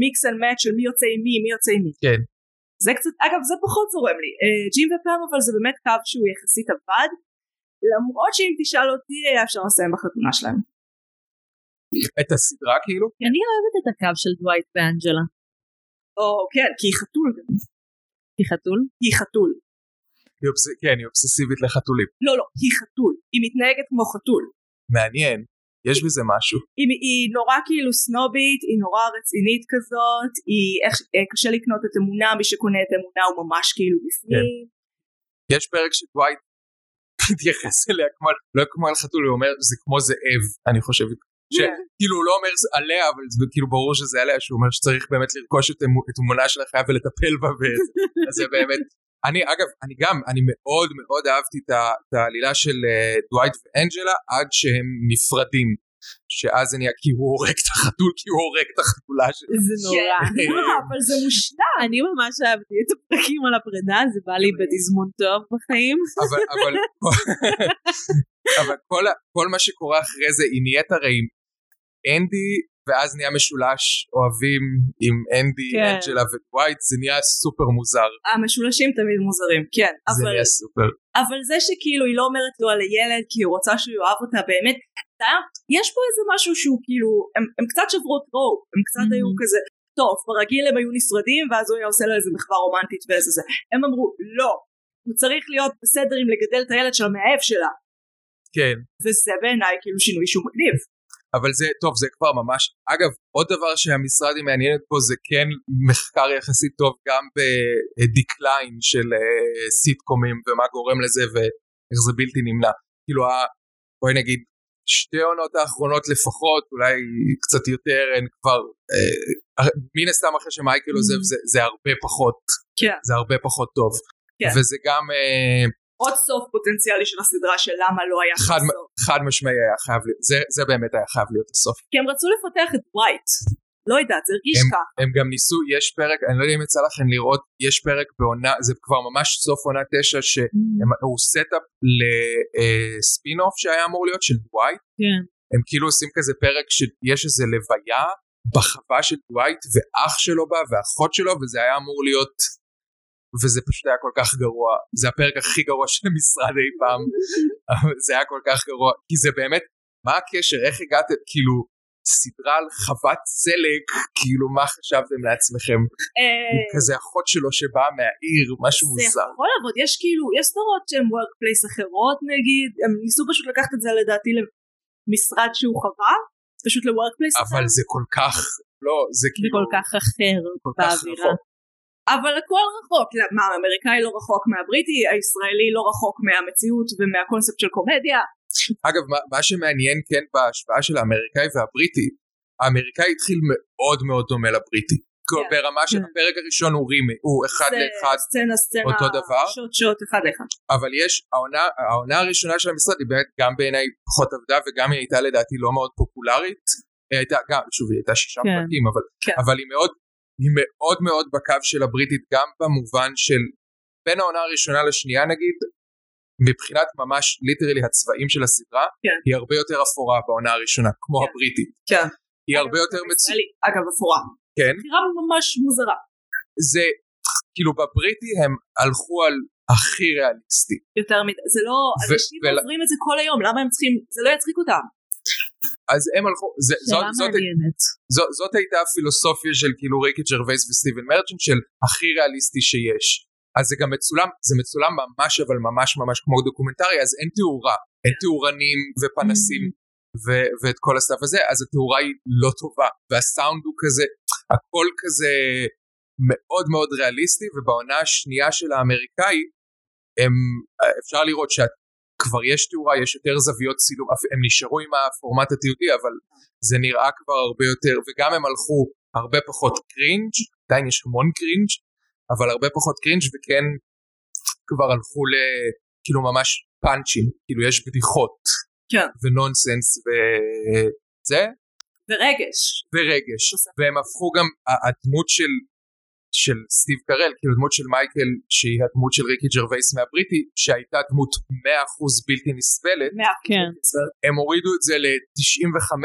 Speaker 1: מיקס אנד מאט של מי יוצא עם מי, מי יוצא עם מי.
Speaker 2: כן.
Speaker 1: זה קצת, אגב זה פחות זורם לי, אה, ג'ים ופאם אבל זה באמת קו שהוא יחסית עבד, למרות שאם תשאל אותי היה אפשר לסיים בחתונה שלהם.
Speaker 2: את הסדרה כאילו?
Speaker 3: אני אוהבת את הקו של דווייט ואנג'לה.
Speaker 1: או כן, כי היא חתול, גם.
Speaker 3: כי חתול?
Speaker 1: היא חתול.
Speaker 2: היא אובס- כן, היא אובססיבית לחתולים.
Speaker 1: לא לא, היא חתול, היא מתנהגת כמו חתול.
Speaker 2: מעניין, יש בזה משהו.
Speaker 1: היא, היא נורא כאילו סנובית, היא נורא רצינית כזאת, היא איך, אה, קשה לקנות את אמונה, מי שקונה את אמונה הוא ממש כאילו בפנים.
Speaker 2: יש פרק שדווייט מתייחס אליה כמו, לא כמו אל חתול, הוא אומר זה כמו זאב, אני חושב.
Speaker 1: כן.
Speaker 2: כאילו הוא לא אומר זה עליה, אבל זה כאילו ברור שזה עליה, שהוא אומר שצריך באמת לרכוש את אמ- את אמונה של החיה ולטפל בה, וזה אז זה באמת. אני אגב, אני גם, אני מאוד מאוד אהבתי את ה- את העלילה של אה, דווייט ואנג'לה עד שהם נפרדים. שאז זה נהיה כי הוא הורג את החתול, כי הוא הורג את החתולה שלו.
Speaker 3: זה נורא.
Speaker 2: לא,
Speaker 1: אבל זה מושלם.
Speaker 3: כן. אני ממש אהבתי את הפרקים על הפרידה, זה בא לי בתזמון טוב בחיים.
Speaker 2: אבל, אבל, אבל כל, ה- כל מה שקורה אחרי זה, היא נהיית הרי עם אנדי, ואז נהיה משולש אוהבים עם אנדי,
Speaker 3: כן.
Speaker 2: אנג'לה ודווייט, זה נהיה סופר מוזר.
Speaker 1: המשולשים תמיד מוזרים, כן.
Speaker 2: זה
Speaker 1: אבל,
Speaker 2: נהיה סופר.
Speaker 1: אבל זה שכאילו היא לא אומרת לו על הילד כי היא רוצה שהוא יאהב אותה באמת, אתה, יש פה איזה משהו שהוא כאילו, הם, הם קצת שברו את רוב, הם קצת
Speaker 3: Mhm.
Speaker 2: Mm-hmm.
Speaker 1: היו כזה, טוב, ברגיל הם היו נפרדים ואז הוא היה עושה לו איזה מחווה רומנטית ואיזה זה. הם אמרו, לא, הוא צריך להיות בסדר עם לגדל את הילד של המאהב שלה,
Speaker 2: כן.
Speaker 1: וזה בעיניי כאילו שינוי שהוא מגניב.
Speaker 2: אבל זה, טוב, זה כבר ממש, אגב, עוד דבר שהמשרד היא מעניינת פה זה כן מחקר יחסית טוב גם בדקליין של אה, סיטקומים ומה גורם לזה ואיך זה בלתי נמנע. כאילו, ה- בואי נגיד, שתי העונות האחרונות לפחות, אולי קצת יותר, הן כבר, אה, מן הסתם אחרי שמייקל עוזב זה, זה הרבה פחות,
Speaker 1: Mm-hmm. כן.
Speaker 2: זה הרבה פחות טוב.
Speaker 1: כן.
Speaker 2: וזה גם אה,
Speaker 1: עוד סוף פוטנציאלי של הסדרה של למה לא היה
Speaker 2: חד,
Speaker 1: סוף.
Speaker 2: חד משמעי היה חייב להיות, זה, זה באמת היה חייב להיות הסוף.
Speaker 1: כי הם רצו לפתח את ווייט. לא יודעת, זה הרגיש
Speaker 2: הם-
Speaker 1: כך.
Speaker 2: הם גם ניסו, יש פרק, אני לא יודע אם יצא לכם לראות, יש פרק בעונה, זה כבר ממש סוף עונה תשע, שהוא סטאפ לספינוף אה, שהיה אמור להיות של דווייט,
Speaker 3: כן.
Speaker 2: הם כאילו עושים כזה פרק שיש איזה לוויה בחווה של דווייט, ואח שלו בא, ואחות שלו, וזה היה אמור להיות, וזה פשוט היה כל כך גרוע, זה הפרק הכי גרוע של המשרד אי פעם, אבל זה היה כל כך גרוע, כי זה באמת, מה הקשר, איך הגעתם, כאילו, סדרה על חוות סלק, כאילו, מה חשבתם לעצמכם?
Speaker 1: אה,
Speaker 2: עם כזה אחות שלו שבאה מהעיר, משהו
Speaker 1: זה
Speaker 2: מוזר.
Speaker 1: יכול לעבוד, יש כאילו, יש סדרות שהן workplace אחרות נגיד, הם ניסו פשוט לקחת את זה לדעתי למשרד שהוא חווה, פשוט ל-workplace אחר,
Speaker 2: אבל זה כל כך, לא, זה
Speaker 3: זה
Speaker 2: כאילו
Speaker 3: כל כך אחר
Speaker 2: כל כך
Speaker 3: באווירה.
Speaker 2: רחוק.
Speaker 1: אבל הכל רחוק, לא, מה האמריקאי לא רחוק מהבריטי, הישראלי לא רחוק מהמציאות ומהקונספט של קומדיה,
Speaker 2: אגב, מה, מה שמעניין כן בהשוואה של האמריקאי והבריטי, האמריקאי התחיל מאוד מאוד דומה לבריטי. כן. ברמה של
Speaker 3: כן.
Speaker 2: הפרק הראשון הוא רימי, הוא אחד
Speaker 1: זה
Speaker 2: לאחד,
Speaker 1: סצנה סצנה,
Speaker 2: אותו דבר?
Speaker 1: שוט שוט אחד לאחד,
Speaker 2: אבל יש, העונה, העונה הראשונה של המשרד היא באמת גם בעיניי פחות עבדה וגם היא הייתה לדעתי לא מאוד פופולרית. היא הייתה גם, שוב, היא הייתה שישה
Speaker 3: כן.
Speaker 2: פרקים, אבל,
Speaker 1: כן.
Speaker 2: אבל היא, מאוד, היא מאוד מאוד בקו של הבריטית, גם במובן של בין העונה הראשונה לשנייה נגיד, מבחינת ממש ליטרלי הצבעים של הסדרה,
Speaker 1: כן.
Speaker 2: היא הרבה יותר אפורה בעונה הראשונה, כמו
Speaker 1: כן.
Speaker 2: הבריטית.
Speaker 1: כן.
Speaker 2: היא הרבה יותר מצוינת.
Speaker 1: ישראלי, אגב אפורה,
Speaker 2: כן.
Speaker 1: בחירה ממש מוזרה,
Speaker 2: זה, כאילו בבריטי הם הלכו על הכי ריאליסטי.
Speaker 1: יותר מדי, זה לא,
Speaker 2: ו-
Speaker 1: אנשים
Speaker 2: ול-
Speaker 1: עוברים את זה כל היום, למה הם צריכים, זה לא יצחיק אותם,
Speaker 2: אז הם הלכו, זה, זאת,
Speaker 3: שאלה
Speaker 2: זאת,
Speaker 3: מעניינת.
Speaker 2: זו, זאת הייתה הפילוסופיה של כאילו ריקי ג'רווייס וסטיבן מרצ'נט של הכי ריאליסטי שיש. אז זה גם מצולם, זה מצולם ממש אבל ממש ממש כמו דוקומנטרי, אז אין תאורה, אין תאורנים ופנסים ו- ואת כל הסטאפ הזה, אז התאורה היא לא טובה, והסאונד הוא כזה, הכל כזה מאוד מאוד ריאליסטי, ובעונה השנייה של האמריקאי, הם, אפשר לראות שכבר יש תאורה, יש יותר זוויות צילום, אפ- הם נשארו עם הפורמט התיעודי, אבל זה נראה כבר הרבה יותר, וגם הם הלכו הרבה פחות קרינג', עדיין יש המון קרינג', אבל הרבה פחות קרינג', וכן כבר הלכו לכאילו ממש פאנצ'ים, כאילו יש בדיחות.
Speaker 1: כן.
Speaker 2: ונונסנס וזה,
Speaker 1: ורגש,
Speaker 2: ורגש. והם הפכו גם, ה- הדמות של, של סטיב קרל, כאילו הדמות של מייקל, שהיא הדמות של ריקי ג'רווייס מהבריטי, שהייתה דמות 100% בלתי נסבלת,
Speaker 1: מאה
Speaker 3: כן.
Speaker 2: הם הורידו את זה ל-95%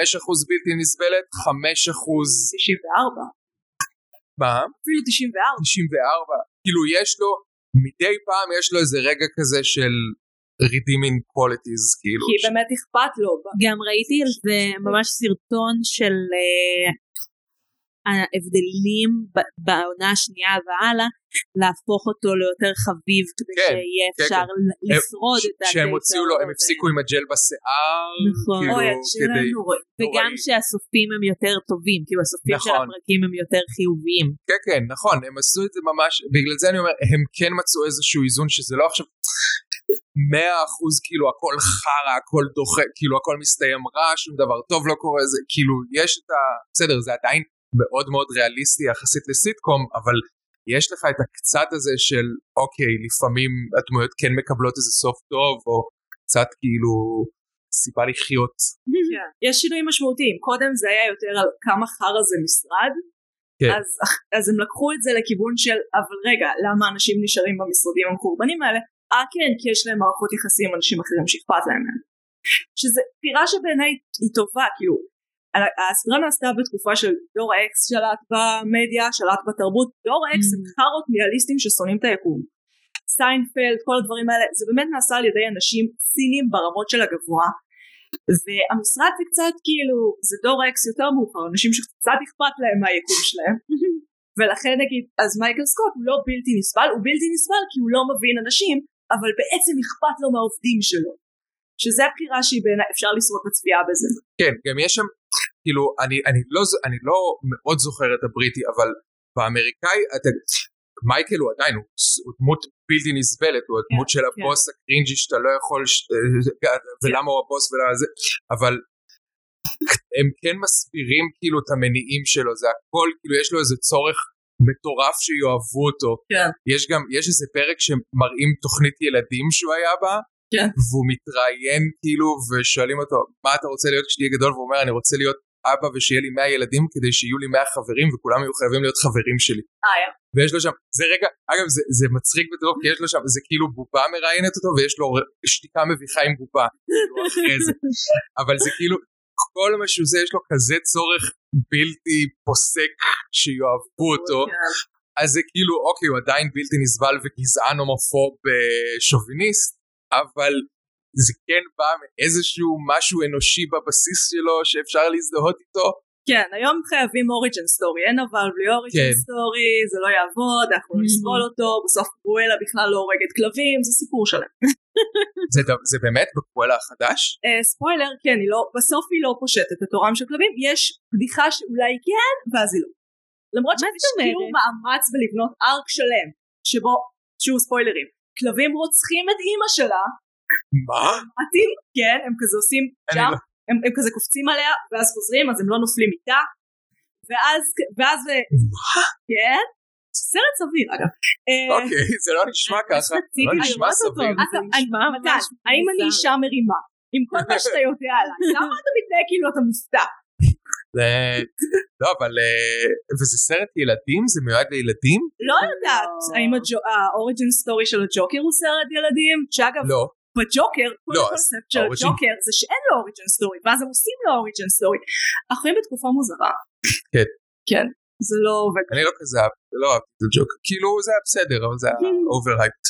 Speaker 2: בלתי נסבלת, 5%
Speaker 1: 94,
Speaker 2: מה?
Speaker 1: אפילו 94,
Speaker 2: 94. כאילו יש לו, מדי פעם יש לו איזה רגע כזה של redeeming qualities, כאילו.
Speaker 1: כי באמת אכפת לו.
Speaker 3: גם ראיתי על זה ממש סרטון של אה, ההבדלים ב- בעונה השנייה והלאה, להפוך אותו ליותר חביב כדי
Speaker 2: כן,
Speaker 3: שיהיה
Speaker 2: כן,
Speaker 3: אפשר ל- לשרוד את
Speaker 2: ש- שהם הוציאו לו, הם
Speaker 3: הזה.
Speaker 2: הפסיקו עם הג'ל בשיער,
Speaker 3: לא נכון.
Speaker 2: כאילו,
Speaker 1: אוי, השיר
Speaker 2: כדי...
Speaker 1: היה נוראי.
Speaker 3: וגם
Speaker 2: נוראי.
Speaker 3: שהסופים הם יותר טובים, כאילו הסופים של
Speaker 2: נכון.
Speaker 3: הפרקים הם יותר חיוביים.
Speaker 2: כן, כן, נכון, הם עשו את זה ממש, בגלל זה אני אומר, הם כן מצאו איזשהו איזון שזה לא עכשיו 100 אחוז, כאילו הכל חרא, הכל דוחה, כאילו הכל מסתיים רע, שום דבר טוב לא קורה, זה כאילו, יש את ה... בסדר, זה עדיין מאוד מאוד ריאליסטי יחסית לסיטקום, אבל יש לך את הקצת הזה של, אוקיי, לפעמים הדמויות כן מקבלות איזה סוף טוב, או קצת כאילו... סיבה לחיות.
Speaker 1: כן. יש שינויים משמעותיים קודם זה היה יותר על כמה חרא זה משרד
Speaker 2: כן.
Speaker 1: אז, אז הם לקחו את זה לכיוון של אבל רגע למה אנשים נשארים במשרדים המחורבנים האלה אה כן כי יש להם מערכות יחסים עם אנשים אחרים שאכפת להם מהם שזה פירה שבעיניי היא טובה כאילו ה- הסדרה נעשתה בתקופה של דור האקס שלט במדיה שלט בתרבות דור האקס הם חארות מיאליסטים ששונאים את היקום סיינפלד כל הדברים האלה זה באמת נעשה על ידי אנשים ציניים ברמות של הגבוה והמשרד זה קצת כאילו זה דור אקס יותר מאוחר אנשים שקצת אכפת להם מהיקום שלהם ולכן נגיד אז מייקל סקוט הוא לא בלתי נסבל הוא בלתי נסבל כי הוא לא מבין אנשים אבל בעצם אכפת לו מהעובדים שלו שזה הבחירה שהיא בעיניי אפשר לשרוד את הצפייה בזה
Speaker 2: כן, גם יש שם, כאילו, אני, אני, לא, ז- אני לא מאוד זוכר את הבריטי, אבל באמריקאי, אתה, מייקל הוא עדיין, הוא, ס- הוא דמות בלתי נסבלת, הוא הדמות של הבוס הקרינג'י שאתה לא יכול, ש, ולמה הוא הבוס ולמה זה, אבל הם כן מסבירים כאילו את המניעים שלו, זה הכל, כאילו, יש לו איזה צורך מטורף שיאהבו אותו.
Speaker 1: כן.
Speaker 2: יש גם, יש איזה פרק שמראים תוכנית ילדים שהוא היה בה,
Speaker 1: כן.
Speaker 2: והוא מתראיין כאילו, ושואלים אותו, מה אתה רוצה להיות כשתהיה גדול? והוא אומר, אני רוצה להיות אבא ושיהיה לי 100 ילדים כדי שיהיו לי 100 חברים וכולם יהיו חייבים להיות חברים שלי.
Speaker 1: אה, היה.
Speaker 2: ויש לו שם, זה רגע, אגב זה, זה מצחיק בטרוף, כי יש לו שם, זה כאילו בובה מראיינת אותו ויש לו ר- שתיקה מביכה עם בובה, כאילו אחרי זה. אבל זה כאילו, כל מה שהוא זה, יש לו כזה צורך בלתי פוסק שיאהבו אותו,
Speaker 1: כן.
Speaker 2: אז זה כאילו, אוקיי, הוא עדיין בלתי נסבל וגזען הומופוב אה, שוביניסט, אבל זה כן בא מאיזשהו משהו אנושי בבסיס שלו שאפשר להזדהות איתו.
Speaker 1: כן, היום חייבים אוריג'ן סטורי, אין אבל בלי אוריג'ן
Speaker 2: כן.
Speaker 1: סטורי, זה לא יעבוד, אנחנו
Speaker 3: Mhm.
Speaker 1: נסבול אותו, בסוף ברואלה בכלל לא הורגת כלבים, זה סיפור שלם.
Speaker 2: זה, ד- זה באמת בקואלה החדש?
Speaker 1: אה, ספוילר, כן, היא לא, בסוף היא לא פושטת את עורם של כלבים, יש בדיחה שאולי כן, ואז היא לא. למרות
Speaker 3: מה
Speaker 1: שהם
Speaker 3: זאת אומרת?
Speaker 1: השקיעו מאמץ בלבנות ארק שלם, שבו, שוב ספוילרים, כלבים רוצחים את אימא שלה,
Speaker 2: מה?
Speaker 1: מתים, כן, הם כזה עושים
Speaker 2: אני
Speaker 1: ג'אמפ
Speaker 2: לא-
Speaker 1: הם, הם כזה קופצים עליה ואז חוזרים אז הם לא נופלים איתה ואז ואז אה, כן סרט סביר אגב אה,
Speaker 2: אוקיי, זה לא נשמע ככה, זה לא
Speaker 3: רציתי
Speaker 2: נשמע
Speaker 3: לראות אותו,
Speaker 2: סביר.
Speaker 3: אבל
Speaker 1: אתה-
Speaker 3: זה נשמע
Speaker 1: מתן,
Speaker 3: ממש
Speaker 1: האם אני
Speaker 3: מוזר.
Speaker 1: אישה מרימה עם כל מה שאתה יודע עליי למה אתה מתנהג כאילו אתה מופתע
Speaker 2: זה- לא, אבל... אה, וזה סרט ילדים? זה מיועד לילדים?
Speaker 1: לא יודעת האם הג'ו- האוריג'ין סטורי של הג'וקר הוא סרט ילדים שאגב
Speaker 2: לא.
Speaker 1: בג'וקר, כל
Speaker 2: לא,
Speaker 1: הקונספט של
Speaker 2: האוריג'ין-
Speaker 1: הג'וקר זה שאין לו אוריג'ן סטורי, ואז הם עושים לו אוריג'ן סטורי. אנחנו חיים בתקופה מוזרה.
Speaker 2: כן.
Speaker 1: כן, זה לא עובד.
Speaker 2: אני לא כזה אהבתי, לא אהבתי את הג'וק. כאילו, זה היה בסדר, אבל זה היה אוברהייפט.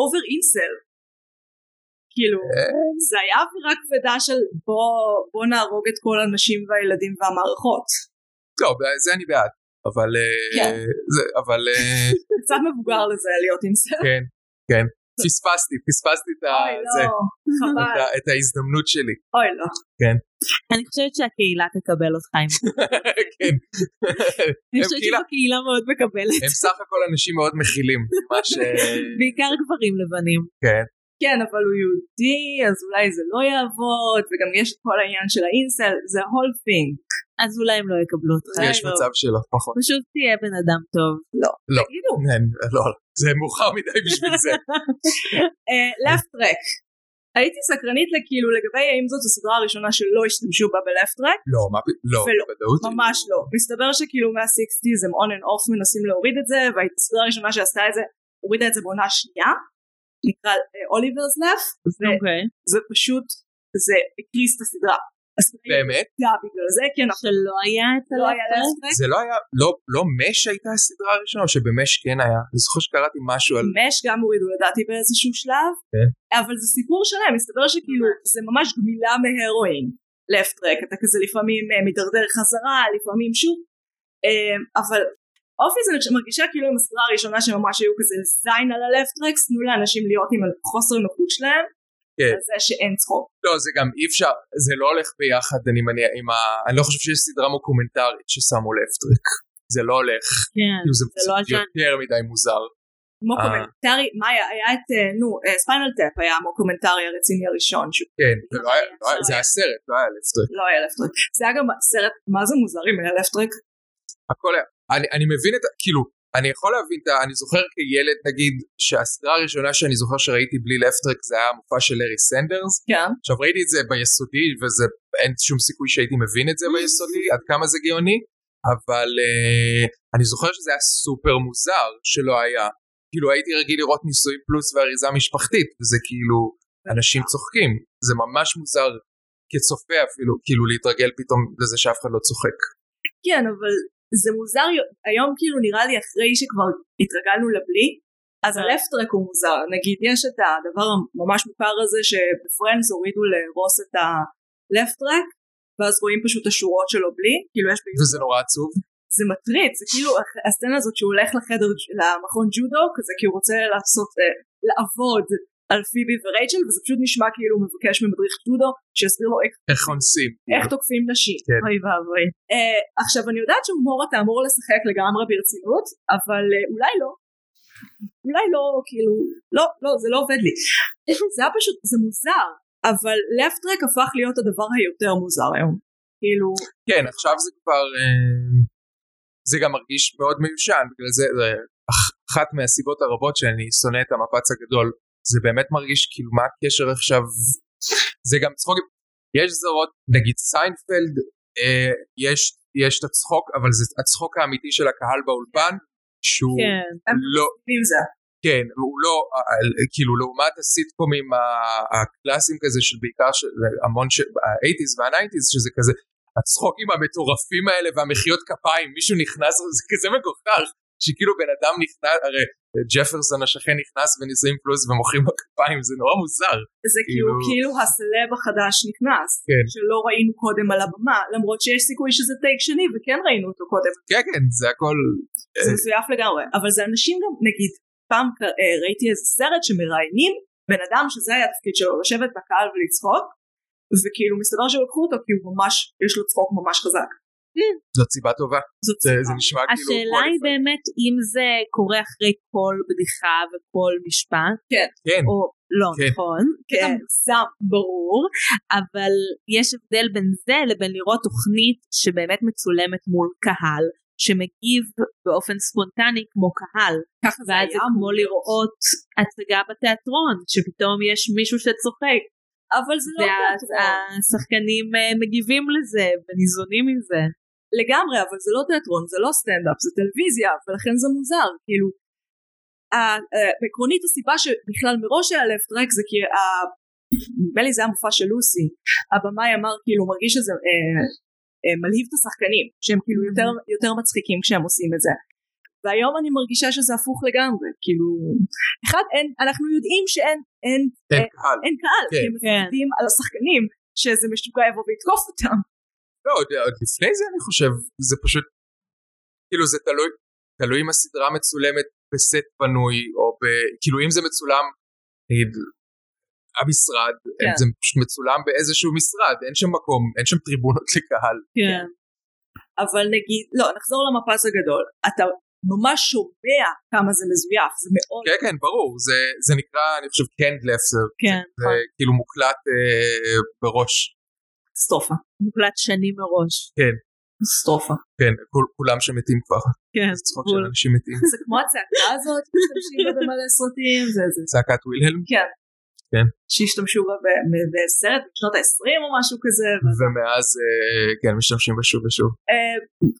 Speaker 1: אובר אינסל. כאילו,
Speaker 2: אה.
Speaker 1: זה היה אווירה כבדה של בוא, בוא נהרוג את כל הנשים והילדים והמערכות.
Speaker 2: לא, זה אני בעד. אבל... אה,
Speaker 1: כן.
Speaker 2: זה, אבל... אה,
Speaker 1: קצת מבוגר לזה להיות אינסל.
Speaker 2: כן, כן. פספסתי, פספסתי את, ה-
Speaker 1: אוי
Speaker 2: אה, זה,
Speaker 1: לא,
Speaker 2: את,
Speaker 1: חבל,
Speaker 2: ה- את ההזדמנות שלי.
Speaker 1: אוי לא.
Speaker 3: אני חושבת שהקהילה תקבל אותך עם זה.
Speaker 2: כן.
Speaker 3: אני
Speaker 2: הם
Speaker 3: חושבת
Speaker 2: קהילה-
Speaker 3: שהקהילה מאוד מקבלת.
Speaker 2: הם סך הכל אנשים מאוד מכילים. מה ש...
Speaker 3: בעיקר גברים לבנים.
Speaker 2: כן.
Speaker 1: כן, אבל הוא יהודי, אז אולי זה לא יעבוד, וגם יש את כל העניין של האינסל, זה whole thing.
Speaker 3: אז אולי הם לא יקבלו אותך.
Speaker 2: יש מצב שלא, נכון. פחות.
Speaker 3: פשוט תהיה בן אדם טוב.
Speaker 2: לא.
Speaker 1: תגידו.
Speaker 2: אין, לא, זה מאוחר מדי בשביל זה.
Speaker 1: אה, left track. הייתי סקרנית לכאילו לגבי האם זאת הסדרה הראשונה שלא השתמשו בה ב-left track,
Speaker 2: לא, מה פ... לא,
Speaker 1: ולא.
Speaker 2: בוודאות.
Speaker 1: ממש לא. מסתבר שכאילו מה-60's הם on and off מנסים להוריד את זה, והסדרה הראשונה שעשתה את זה הורידה את זה בעונה שנייה, נקרא אוליברס לף,
Speaker 3: אוקיי.
Speaker 1: זה פשוט, זה הקריס את הסדרה. הסדרה
Speaker 2: באמת?
Speaker 1: ירדה בגלל זה, כן, אנחנו
Speaker 3: שלא היה את
Speaker 1: לא היה
Speaker 3: הלפטר?
Speaker 1: left track.
Speaker 2: זה לא היה, לא, לא מש הייתה הסדרה הראשונה, או שבמש כן היה? אני זוכר שקראתי משהו על...
Speaker 1: מש גם הורידו לדעתי באיזשהו שלב,
Speaker 2: כן.
Speaker 1: אבל זה סיפור שלם, מסתבר שכאילו זה ממש גמילה מהרואין, לפט טרק, אתה כזה לפעמים אה, מידרדר חזרה, לפעמים שוב, אה, אבל אופיס אני מרגישה כאילו עם הסדרה הראשונה שממש היו כזה זין על הלפט טרק, תנו לאנשים להיות עם חוסר נוחות שלהם,
Speaker 2: כן.
Speaker 1: על זה שאין צחוק.
Speaker 2: לא, זה גם אי אפשר, זה לא הולך ביחד, אני מניח, עם ה... אני לא חושב שיש סדרה מוקומנטרית ששמו לפטריק. זה לא הולך,
Speaker 3: כן.
Speaker 2: כאילו זה
Speaker 3: זה לא
Speaker 2: פשוט
Speaker 3: הז'אנר.
Speaker 2: יותר מדי מוזר.
Speaker 1: כמו
Speaker 2: אה.
Speaker 1: קומנטרי, מה היה, היה את, אה, נו, ספיינל טאפ היה המוקומנטרי הרציני הראשון, שהוא
Speaker 2: כן, זה לא היה,
Speaker 3: זה
Speaker 2: לא היה-
Speaker 3: לא
Speaker 2: זה היה סרט, לא היה לפטריק.
Speaker 1: לא היה לפט טרק, זה היה גם סרט, מה זה מוזר אם היה לפט טרק?
Speaker 2: הכל היה. אני, אני מבין את, ה- כאילו, אני יכול להבין, את ה- אני זוכר כילד נגיד שהסדרה הראשונה שאני זוכר שראיתי בלי לפטרק זה היה המופע של לארי סנדרס
Speaker 1: כן.
Speaker 2: עכשיו ראיתי את זה ביסודי וזה אין שום סיכוי שהייתי מבין את זה ביסודי עד כמה זה גאוני אבל אה, אני זוכר שזה היה סופר מוזר שלא היה כאילו הייתי רגיל לראות נישואים פלוס ואריזה משפחתית וזה כאילו אנשים צוחקים זה ממש מוזר כצופה אפילו כאילו להתרגל פתאום לזה שאף אחד לא צוחק
Speaker 1: כן, אבל זה מוזר יו- היום כאילו נראה לי אחרי שכבר התרגלנו לבלי, אז הלפטרק הוא מוזר. נגיד יש את הדבר הממש מוכר הזה שבפרנדס הורידו לרוס את הלפטרק, ואז רואים פשוט את השורות שלו בלי, כאילו יש ביוטיוב.
Speaker 2: וזה נורא עצוב
Speaker 1: זה מטריד, זה כאילו הח- הסצנה הזאת שהוא הולך לחדר, למכון ג'ודו, כזה כי הוא רוצה לעשות, אה, לעבוד על פיבי ורייצ'ל, וזה פשוט נשמע כאילו הוא מבקש ממדריך ג'ודו שיסביר לו "אה, איך,
Speaker 2: איך אונסים
Speaker 1: איך תוקפים נשים.
Speaker 2: כן.
Speaker 1: אוי ואבוי. אה, עכשיו אני יודעת שהומור אתה אמור לשחק לגמרי ברצינות, אבל אה, אולי לא. אולי לא, כאילו, לא, לא, זה לא עובד לי. זה היה פשוט, זה מוזר, אבל לפטרק הפך להיות הדבר היותר מוזר היום. כאילו,
Speaker 2: כן עכשיו זה כבר אה, זה גם מרגיש מאוד מיושן בגלל זה זה אח- אחת מהסיבות הרבות שאני שונא את המפץ הגדול זה באמת מרגיש כאילו מה הקשר עכשיו זה גם צחוקים יש זרות נגיד סיינפלד אה, יש יש את הצחוק אבל זה הצחוק האמיתי של הקהל באולפן שהוא
Speaker 3: כן.
Speaker 1: הם
Speaker 2: לא
Speaker 1: מבינים זה.
Speaker 2: כן, הוא לא, אה, אה, כאילו לעומת הסיטקומים ה- הקלאסיים כזה של בעיקר של המון, ש- ה-80's וה-90's שזה כזה הצחוקים המטורפים האלה והמחיאות כפיים, מישהו נכנס, זה כזה מגוחך, שכאילו בן אדם נכנס, הרי אה, ג'פרסון השכן נכנס בנישואים פלוס ומוחאים לו כפיים, זה נורא מוזר.
Speaker 1: זה כאילו,
Speaker 2: כאילו-
Speaker 1: כאילו הסלב החדש נכנס,
Speaker 2: כן.
Speaker 1: שלא ראינו קודם על הבמה, למרות שיש סיכוי שזה טייק שני וכן ראינו אותו קודם,
Speaker 2: כן, כן, זה הכל,
Speaker 1: זה
Speaker 2: אה,
Speaker 1: מזויף לגמרי, אבל זה אנשים גם, נגיד, פעם ק- אה, ראיתי איזה סרט שמראיינים בן אדם שזה היה התפקיד שלו, לשבת בקהל ולצחוק, וכאילו מסתבר שלקחו אותו כי הוא ממש, יש לו צחוק ממש חזק.
Speaker 2: זאת סיבה טובה.
Speaker 1: זאת
Speaker 2: זה,
Speaker 1: סיבה.
Speaker 2: זה נשמע כאילו...
Speaker 3: אה, השאלה היא
Speaker 2: qualified.
Speaker 3: באמת אם זה קורה אחרי כל בדיחה וכל משפט,
Speaker 2: כן,
Speaker 3: או לא
Speaker 2: כן.
Speaker 3: נכון,
Speaker 1: כן,
Speaker 3: כן,
Speaker 1: סתם.
Speaker 3: ברור, אבל יש הבדל בין זה לבין לראות תוכנית שבאמת מצולמת מול קהל, שמגיב באופן ספונטני כמו קהל,
Speaker 1: ככה זה
Speaker 3: ואז
Speaker 1: היה
Speaker 3: זה כמו לראות הצגה בתיאטרון, שפתאום יש מישהו שצוחק,
Speaker 1: אבל זה לא תיאטרון.
Speaker 3: והשחקנים מגיבים לזה וניזונים מזה.
Speaker 1: לגמרי, אבל זה לא תיאטרון, זה לא סטנדאפ, זה טלוויזיה, ולכן זה מוזר, כאילו. ה- אה, עקרונית הסיבה שבכלל מראש היה לפט טרק זה כי ה- נדמה לי זה היה מופע של לוסי, הבמאי אמר כאילו הוא מרגיש שזה אה, אה, מלהיב את השחקנים, שהם כאילו יותר, יותר מצחיקים כשהם עושים את זה. והיום אני מרגישה שזה הפוך לגמרי, כאילו, אחד, אין, אנחנו יודעים שאין אין,
Speaker 2: כן,
Speaker 3: אה,
Speaker 2: קהל.
Speaker 1: אין קהל,
Speaker 2: כן.
Speaker 1: כי הם מפחדים על השחקנים שאיזה משוגע יבוא ויתקוף אותם.
Speaker 2: לא, עוד, עוד לפני זה אני חושב, זה פשוט, כאילו זה תלוי, תלוי אם הסדרה מצולמת בסט בנוי, או ב... כאילו אם זה מצולם, נגיד, המשרד,
Speaker 1: כן.
Speaker 2: כן. זה פשוט מצולם באיזשהו משרד, אין שם מקום, אין שם טריבונות לקהל.
Speaker 3: כן.
Speaker 1: אבל נגיד, לא, נחזור למפץ הגדול, אתה ממש שומע כמה זה מזויף, זה מאוד...
Speaker 2: כן, כן, ברור, זה, זה נקרא, אני חושב, קנד לפסר,
Speaker 3: כן,
Speaker 2: זה כאילו מוקלט אה, בראש,
Speaker 1: קטסטרופה.
Speaker 3: מוקלט שנים מראש.
Speaker 1: קטסטרופה.
Speaker 2: כן, כול, כולם שמתים כבר,
Speaker 3: כן,
Speaker 2: זה צחוק של אנשים מתים,
Speaker 1: זה כמו הצעקה הזאת, משתמשים בה במלא סרטים, זה זה.
Speaker 2: צעקת ווילהלם,
Speaker 1: כן.
Speaker 2: כן.
Speaker 1: שהשתמשו בה ב- ב- בסרט בשנות ה-20 או משהו כזה. ו-
Speaker 2: ומאז, אה, כן, משתמשים בה שוב ושוב.
Speaker 1: אה,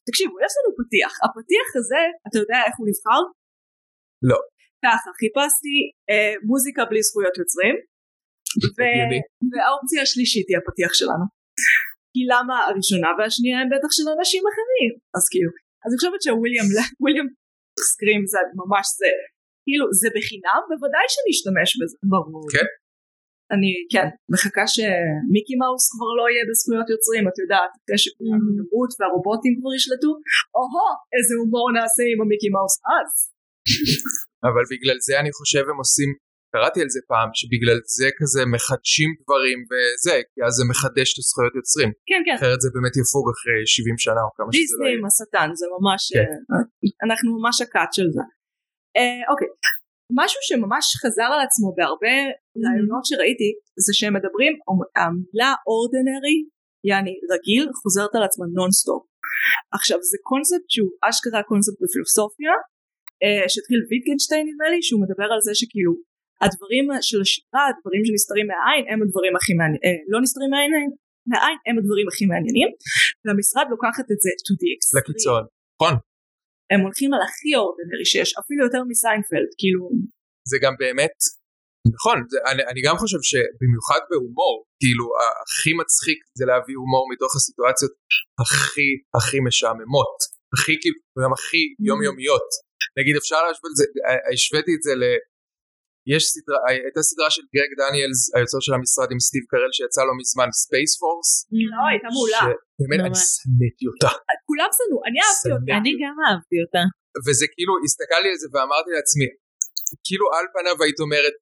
Speaker 1: תקשיבו, יש לנו פתיח. הפתיח הזה, אתה יודע איך הוא נבחר?
Speaker 2: לא.
Speaker 1: ככה, חיפשתי אה, מוזיקה בלי זכויות יוצרים,
Speaker 2: הגיוני.
Speaker 1: והאופציה השלישית היא הפתיח שלנו. כי למה הראשונה והשנייה הם בטח של אנשים אחרים? אז כאילו, אז אני חושבת שוויליאם וויליאם סקרים זה ממש זה, כאילו זה בחינם בוודאי שנשתמש בזה. ברור.
Speaker 2: כן.
Speaker 1: אני, כן, מחכה שמיקי מאוס כבר לא יהיה בזכויות יוצרים, את יודעת, אחרי שכולם
Speaker 3: Mhm.
Speaker 1: ידברות והרובוטים כבר ישלטו, או-הו, איזה הומור נעשה עם המיקי מאוס אז.
Speaker 2: אבל בגלל זה אני חושב הם עושים, קראתי על זה פעם, שבגלל זה כזה מחדשים דברים וזה, כי אז זה מחדש את הזכויות יוצרים.
Speaker 1: כן, כן.
Speaker 2: אחרת זה באמת יפוג אחרי 70 שנה או כמה שזה לא
Speaker 1: דיסני
Speaker 2: יהיה.
Speaker 1: עם השטן זה ממש
Speaker 2: כן.
Speaker 1: אה, אנחנו ממש הקאט של זה. אה, אוקיי משהו שממש חזר על עצמו בהרבה רעיונות שראיתי זה שהם מדברים המילה אורדנרי יעני רגיל חוזרת על עצמה נונסטופ. עכשיו זה קונספט שהוא אשכרה קונספט בפילוסופיה אה, שהתחיל ויטגנשטיין נדמה לי שהוא מדבר על זה שכאילו הדברים של השירה הדברים שנסתרים מהעין הם הדברים הכי מעניינים אה, לא נסתרים מהעין מהעין הם הדברים הכי מעניינים והמשרד לוקחת את זה to the extreme.
Speaker 2: לקיצון. נכון.
Speaker 1: הם הולכים על הכי אורדנרי שיש אפילו יותר מסיינפלד כאילו
Speaker 2: זה גם באמת, נכון, זה, אני, אני גם חושב שבמיוחד בהומור, כאילו ה- הכי מצחיק זה להביא הומור מתוך הסיטואציות הכי הכי משעממות, הכי כאילו, גם הכי יומיומיות. נגיד אפשר להשוות את זה, ה- השוויתי את זה ל... יש סדרה, אה, הייתה סדרה של גרג דניאלס, היוצר של המשרד עם סטיב קרל שיצא לא מזמן, ספייס פורס.
Speaker 3: Mm.
Speaker 1: לא הייתה מעולה
Speaker 2: שבאמת אני
Speaker 3: ממש.
Speaker 2: שנאתי אותה.
Speaker 1: כולם שנאו אני אהבתי אותה
Speaker 3: אני גם אהבתי אותה.
Speaker 2: וזה כאילו, הסתכלתי על זה ואמרתי לעצמי, כאילו על פניו היית אומרת,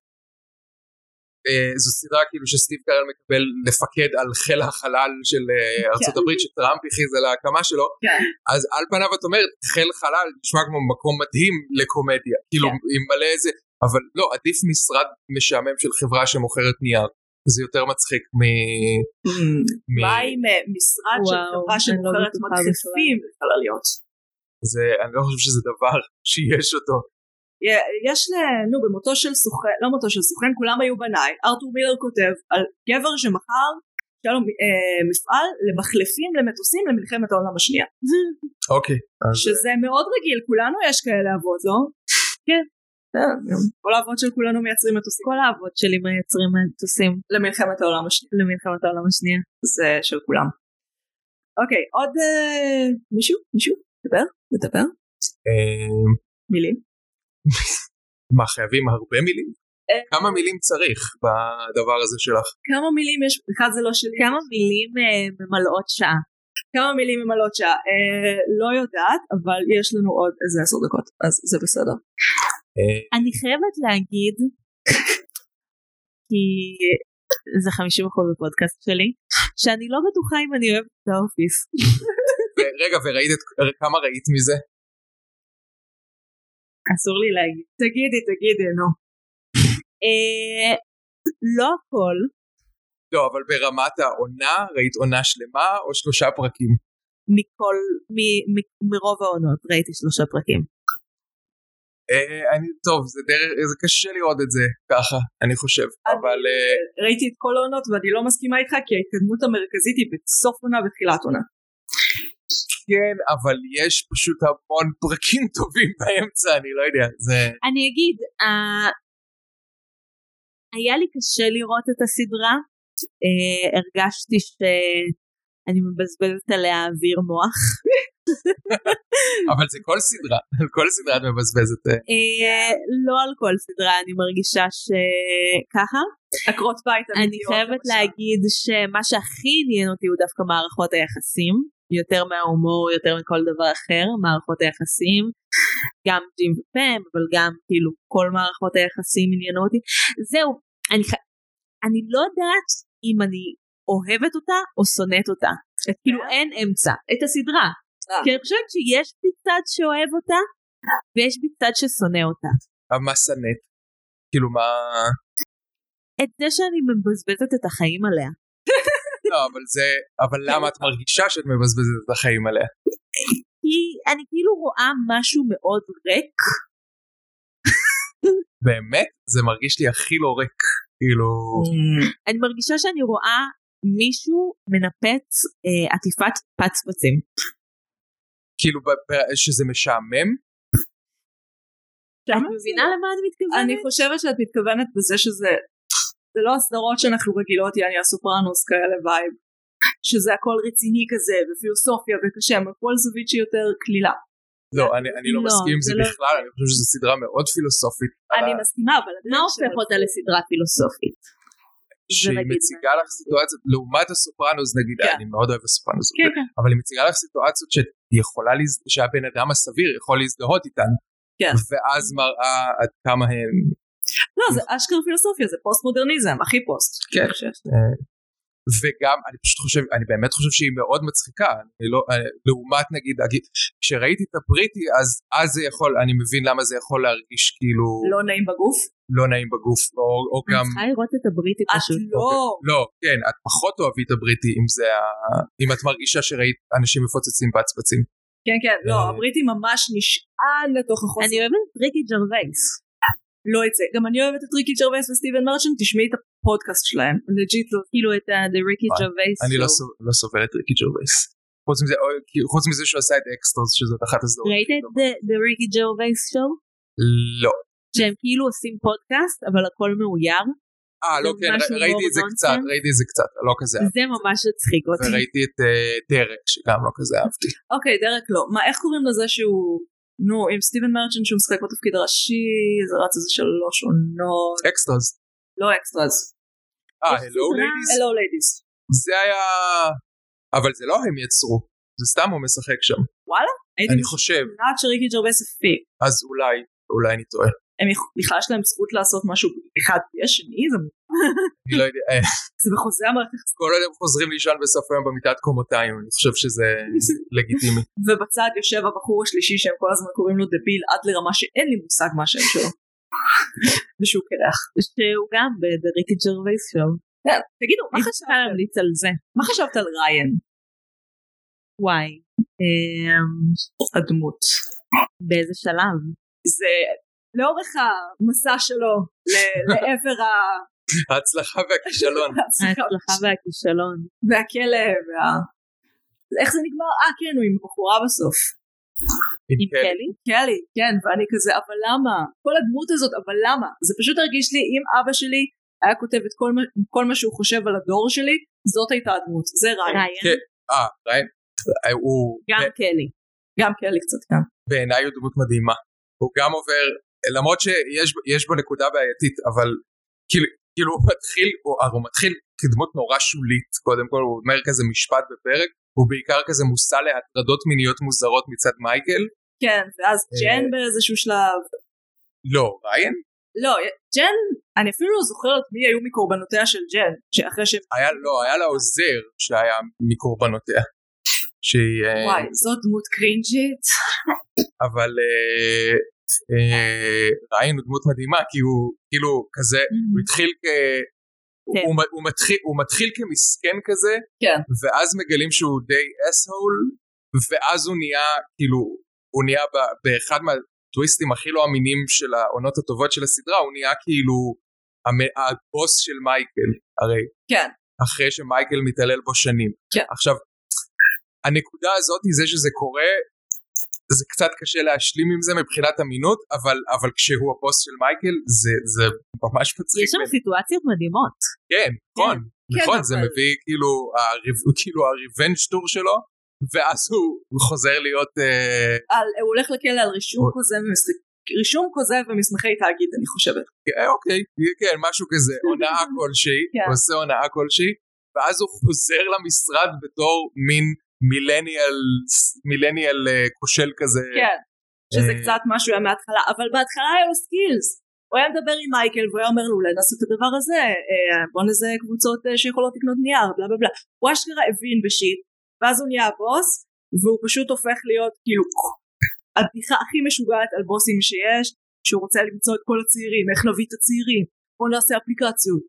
Speaker 2: אה, זו סדרה כאילו שסטיב קרל מקבל לפקד על חיל החלל של אה, ארצות הברית, שטראמפ הכריז על ההקמה שלו,
Speaker 1: כן.
Speaker 2: אז על פניו את אומרת, חיל חלל נשמע כמו מקום מדהים לקומדיה, כאילו עם מלא איזה, אבל לא, עדיף משרד משעמם של חברה שמוכרת נייר. זה יותר מצחיק מ... מ-
Speaker 1: מה עם אה, משרד של
Speaker 3: וואו,
Speaker 1: חברה
Speaker 3: אני לא
Speaker 1: שמוכרת
Speaker 3: בטוחה
Speaker 1: מדחפים לחלליות
Speaker 2: זה, אני לא חושב שזה דבר שיש אותו.
Speaker 1: יה- יש ל... נו במותו של סוכן, לא מותו של סוכן, כולם היו בניי. ארתור מילר כותב על גבר שמכר, שהיה לו אה, מפעל למחלפים למטוסים למלחמת העולם השנייה.
Speaker 2: אוקיי. אז
Speaker 1: שזה מאוד רגיל, כולנו יש כאלה אבות, לא?
Speaker 3: כן.
Speaker 1: כן, כל האבות של כולנו מייצרים מטוסים.
Speaker 3: כל האבות שלי מייצרים מטוסים
Speaker 1: למלחמת העולם השנייה.
Speaker 3: למלחמת העולם השנייה.
Speaker 1: זה של כולם. אוקיי, עוד אה, מישהו? מישהו? לדבר? לדבר?
Speaker 2: אה,
Speaker 1: מילים?
Speaker 2: מה, חייבים הרבה מילים?
Speaker 1: אה,
Speaker 2: כמה מילים צריך בדבר הזה שלך?
Speaker 1: כמה מילים יש? בכלל זה לא שלי.
Speaker 3: כמה מילים אה, ממלאות שעה.
Speaker 1: כמה מילים ממלאות שעה. אה, לא יודעת, אבל יש לנו עוד איזה עשר דקות, אז זה בסדר.
Speaker 2: אה,
Speaker 3: אני חייבת להגיד, כי זה 50% בפודקאסט שלי, שאני לא בטוחה אם אני אוהבת את האופיס.
Speaker 2: ו- רגע, וראית את, אה, כמה ראית מזה?
Speaker 3: אסור לי להגיד.
Speaker 1: תגידי, תגידי, נו.
Speaker 3: אה, לא הכל,
Speaker 2: לא, אבל ברמת העונה, ראית עונה שלמה או שלושה פרקים?
Speaker 3: מכל, מ, מ, מרוב העונות, ראיתי שלושה פרקים.
Speaker 2: אה, אני, טוב, זה דרך, זה קשה לראות את זה ככה, אני חושב,
Speaker 1: אני-
Speaker 2: אבל אה,
Speaker 1: ראיתי את כל העונות ואני לא מסכימה איתך כי ההתקדמות המרכזית היא בסוף עונה ותחילת עונה.
Speaker 2: כן, אבל יש פשוט המון פרקים טובים באמצע, אני לא יודע, זה...
Speaker 3: אני אגיד, אה, היה לי קשה לראות את הסדרה, אה, הרגשתי שאני מבזבזת עליה אוויר מוח.
Speaker 2: אבל זה כל סדרה, על כל סדרה את מבזבזת. אה,
Speaker 3: אה, לא על כל סדרה אני מרגישה שככה.
Speaker 1: עקרות בית
Speaker 3: אני
Speaker 1: אמיתיות,
Speaker 3: חייבת
Speaker 1: למשל.
Speaker 3: להגיד שמה שהכי עניין אותי הוא דווקא מערכות היחסים, יותר מההומור, יותר מכל דבר אחר, מערכות היחסים. גם ג'ים ופם, אבל גם כאילו כל מערכות היחסים עניינו אותי. זהו, אני, ח- אני לא יודעת אם אני אוהבת אותה או שונאת אותה. כאילו אין אמצע, את הסדרה.
Speaker 1: אוקיי. אה.
Speaker 3: כי אני חושבת שיש בי צד שאוהב אותה, ויש בי צד ששונא אותה.
Speaker 2: מה שנאת? כאילו, מה...
Speaker 3: את זה שאני מבזבזת את החיים עליה.
Speaker 2: לא, אבל זה... אבל למה את מרגישה שאת מבזבזת את החיים עליה?
Speaker 3: כי אני כאילו רואה משהו מאוד ריק,
Speaker 2: באמת, זה מרגיש לי הכי לא ריק. כאילו,
Speaker 1: Mm.
Speaker 3: אני מרגישה שאני רואה מישהו מנפץ אה, עטיפת פצפצים.
Speaker 2: כאילו ב- ב- שזה משעמם,
Speaker 3: את מבינה למה אני מתכוונת?
Speaker 1: אני חושבת שאת מתכוונת בזה שזה זה לא הסדרות שאנחנו רגילות יעני הסופרנוס כאלה וייב שזה הכל רציני כזה ופילוסופיה וקשה אבל כל זווית שהיא יותר קלילה.
Speaker 2: לא, אני, אני לא,
Speaker 3: לא,
Speaker 2: מסכים עם
Speaker 3: זה
Speaker 2: זה
Speaker 3: לא-
Speaker 2: בכלל, אני חושב שזו סדרה מאוד פילוסופית. על
Speaker 1: אני
Speaker 2: ה-
Speaker 1: מסכימה אבל
Speaker 3: מה הופך אה, אותה לסדרה פילוסופית?
Speaker 2: שהיא
Speaker 3: נגיד-
Speaker 2: מציגה לך סיטואציות, לעומת הסופרנוס נגיד,
Speaker 1: כן.
Speaker 2: אני מאוד אוהב הסופרנוס,
Speaker 1: כן,
Speaker 2: אבל- אבל היא מציגה לך סיטואציות שאת יכולה להז- שהבן אדם הסביר יכול להזדהות איתן,
Speaker 1: כן.
Speaker 2: ואז מראה עד כמה הם...
Speaker 1: לא זה אשכרה פילוסופיה זה פוסט מודרניזם הכי פוסט.
Speaker 2: כן.
Speaker 1: אני חושבת.
Speaker 2: וגם, אני פשוט חושב, אני באמת חושב שהיא מאוד מצחיקה, אני לא, אה, לעומת נגיד, הג- כשראיתי את הבריטי, אז, אז זה יכול, אני מבין למה זה יכול להרגיש כאילו...
Speaker 1: לא נעים בגוף.
Speaker 2: לא נעים בגוף, או, או
Speaker 3: אני
Speaker 2: גם...
Speaker 3: צריכה לראות את הבריטית
Speaker 1: את
Speaker 3: פשוט.
Speaker 1: לא.
Speaker 2: לא, כן, את פחות אוהבי את הבריטי אם זה ה... אם את מרגישה שראית אנשים מפוצצים בעצבצים.
Speaker 1: כן כן, לא,
Speaker 2: אה.
Speaker 1: הבריטי ממש נשען לתוך
Speaker 3: אני
Speaker 1: החוסר.
Speaker 3: אוהבת את ריקי ג'רווייס.
Speaker 1: לא את זה. גם אני אוהבת את ריקי ג'רווייס וסטיבן מרשן, תשמעי את הפודקאסט שלהם. לג'יט לא.
Speaker 3: כאילו את ה- The ריקי
Speaker 2: וואי,
Speaker 3: ג'רווייס.
Speaker 2: אני לא
Speaker 3: Show.
Speaker 2: סוב- לא סובל את ריקי ג'רווייס. חוץ מזה, אוי, כאילו, חוץ מזה שהוא עשה את אקסטרס, שזאת אחת הסדרות.
Speaker 3: ראית את The- The ריקי ג'רווייס שואו?
Speaker 2: לא.
Speaker 3: שהם כאילו עושים פודקאסט אבל הכל מאויר.
Speaker 2: אה, לא,
Speaker 3: זה
Speaker 2: כן,
Speaker 3: משהו
Speaker 2: ר- ראיתי את זה
Speaker 3: מאוד
Speaker 2: קצת,
Speaker 3: נונסנס.
Speaker 2: ראיתי את זה קצת, לא כזה אהבתי.
Speaker 3: זה ממש הצחיק אותי.
Speaker 2: וראיתי את אה, דרק, שגם לא כזה אהבתי.
Speaker 1: אוקיי, דרק לא. מה, איך קוראים לזה שהוא... נו, עם סטיבן מרצ'ן שהוא משחק בתפקיד הראשי, זה רץ איזה שלוש עונות,
Speaker 2: אקסטרס.
Speaker 1: לא אקסטרז.
Speaker 2: אה,
Speaker 3: יש
Speaker 2: הלו
Speaker 3: סדרה-
Speaker 2: ליידיס?
Speaker 1: הלו ליידיס.
Speaker 2: זה היה... אבל זה לא הם יצרו, זה סתם הוא משחק שם,
Speaker 1: הייתי
Speaker 2: אני חושב.
Speaker 1: משוכנעת שריקי ג'רווייס הפיק.
Speaker 2: אז אולי, אולי אני טועה.
Speaker 1: הם יכ- בכלל יש להם זכות לעשות משהו אחד בלי השני, זה
Speaker 2: אני לא יודע, אה,
Speaker 1: זה בחוזה המערכת
Speaker 2: כל עוד הם חוזרים לישון בסוף היום במיטת קומותיים, אני חושב שזה לגיטימי.
Speaker 1: ובצד יושב הבחור השלישי שהם כל הזמן קוראים לו דביל עד לרמה שאין לי מושג מה השם שלו. ושהוא קרח. כן,
Speaker 3: שהוא גם ב-The ריקי ג'רווייס שואו.
Speaker 1: תגידו, מה
Speaker 3: אני
Speaker 1: חשבת-
Speaker 3: צריכה להמליץ על זה.
Speaker 1: מה חשבת על ריין?
Speaker 3: וואי. אמ,
Speaker 1: הדמות.
Speaker 3: באיזה שלב?
Speaker 1: זה לאורך המסע שלו ל- לעבר ה-
Speaker 2: ההצלחה והכישלון.
Speaker 3: ההצלחה והכישלון.
Speaker 1: והכלא וה... איך זה נגמר? אה כן הוא עם בחורה בסוף.
Speaker 3: עם קלי?
Speaker 1: קלי, כן, ואני כזה, אבל למה? כל הדמות הזאת, אבל למה? זה פשוט הרגיש לי, אם אבא שלי היה כותב את כל מה, כל מה שהוא חושב על הדור שלי, זאת הייתה הדמות, זה ריין.
Speaker 3: ריין.
Speaker 2: כן. אה, ריין? אה, הוא
Speaker 3: גם
Speaker 2: בע-
Speaker 3: קלי.
Speaker 1: גם קלי קצת כאן.
Speaker 2: בעיניי הוא דמות מדהימה. הוא גם עובר, למרות שיש יש בו נקודה בעייתית, אבל כאילו- כאילו הוא מתחיל, הוא, הרי הוא מתחיל כדמות נורא שולית, קודם כל הוא אומר כזה משפט בפרק, הוא בעיקר כזה מושא להטרדות מיניות מוזרות מצד מייקל.
Speaker 1: כן, ואז
Speaker 2: אה,
Speaker 1: ג'ן באיזשהו שלב,
Speaker 2: לא, ריין?
Speaker 1: לא, ג'ן, אני אפילו לא זוכרת מי היו מקורבנותיה של ג'ן, שאחרי שהם,
Speaker 2: היה, לא, היה לה עוזר שהיה מקורבנותיה. שהיא... אה,
Speaker 1: וואי, זאת דמות קרינג'ית.
Speaker 2: אבל אה, אה, ריין הוא דמות מדהימה כי הוא כאילו כזה הוא
Speaker 3: Mm-hmm.
Speaker 2: התחיל כ... הוא-
Speaker 3: כן.
Speaker 2: הוא, מ- הוא, מתחיל, הוא מתחיל כמסכן כזה,
Speaker 1: כן.
Speaker 2: ואז מגלים שהוא די אסהול, ואז הוא נהיה, כאילו, הוא נהיה ב, באחד מהטוויסטים הכי לא אמינים של העונות הטובות של הסדרה, הוא נהיה כאילו המ, הבוס של מייקל, הרי.
Speaker 1: כן.
Speaker 2: אחרי שמייקל מתעלל בו שנים.
Speaker 1: כן.
Speaker 2: עכשיו, הנקודה הזאת היא זה שזה קורה, זה קצת קשה להשלים עם זה מבחינת אמינות, אבל, אבל כשהוא הבוס של מייקל, זה, זה ממש מצחיק.
Speaker 3: יש שם סיטואציות מדהימות.
Speaker 2: כן, נכון,
Speaker 1: כן,
Speaker 2: נכון,
Speaker 1: אבל-
Speaker 2: זה מביא כאילו, הריב- כאילו הריבנג' טור שלו, ואז הוא חוזר להיות, אה,
Speaker 1: על, הוא הולך לכלא על רישום
Speaker 2: אוי.
Speaker 1: כוזב ומס- רישום כוזב ומסמכי תאגיד, אני חושבת.
Speaker 2: אה, אוקיי, כן, משהו כזה, הונאה כלשהי,
Speaker 1: כן.
Speaker 2: הוא עושה הונאה כלשהי, ואז הוא חוזר למשרד בתור מין מילניאל, מילניאל אה, כושל כזה.
Speaker 1: כן, שזה
Speaker 2: אה,
Speaker 1: קצת משהו היה מההתחלה, אבל בהתחלה היה לו סקילס. הוא היה מדבר עם מייקל והוא היה אומר לו אולי נעשה את הדבר הזה, אה, בוא נזה קבוצות אה, שיכולות לקנות נייר, בלה בלה בלה. הוא אשכרה הבין בשיט, ואז הוא נהיה הבוס, והוא פשוט הופך להיות כאילו הבדיחה הכי משוגעת על בוסים שיש, שהוא רוצה למצוא את כל הצעירים, איך נביא את הצעירים, בוא נעשה אפליקציות.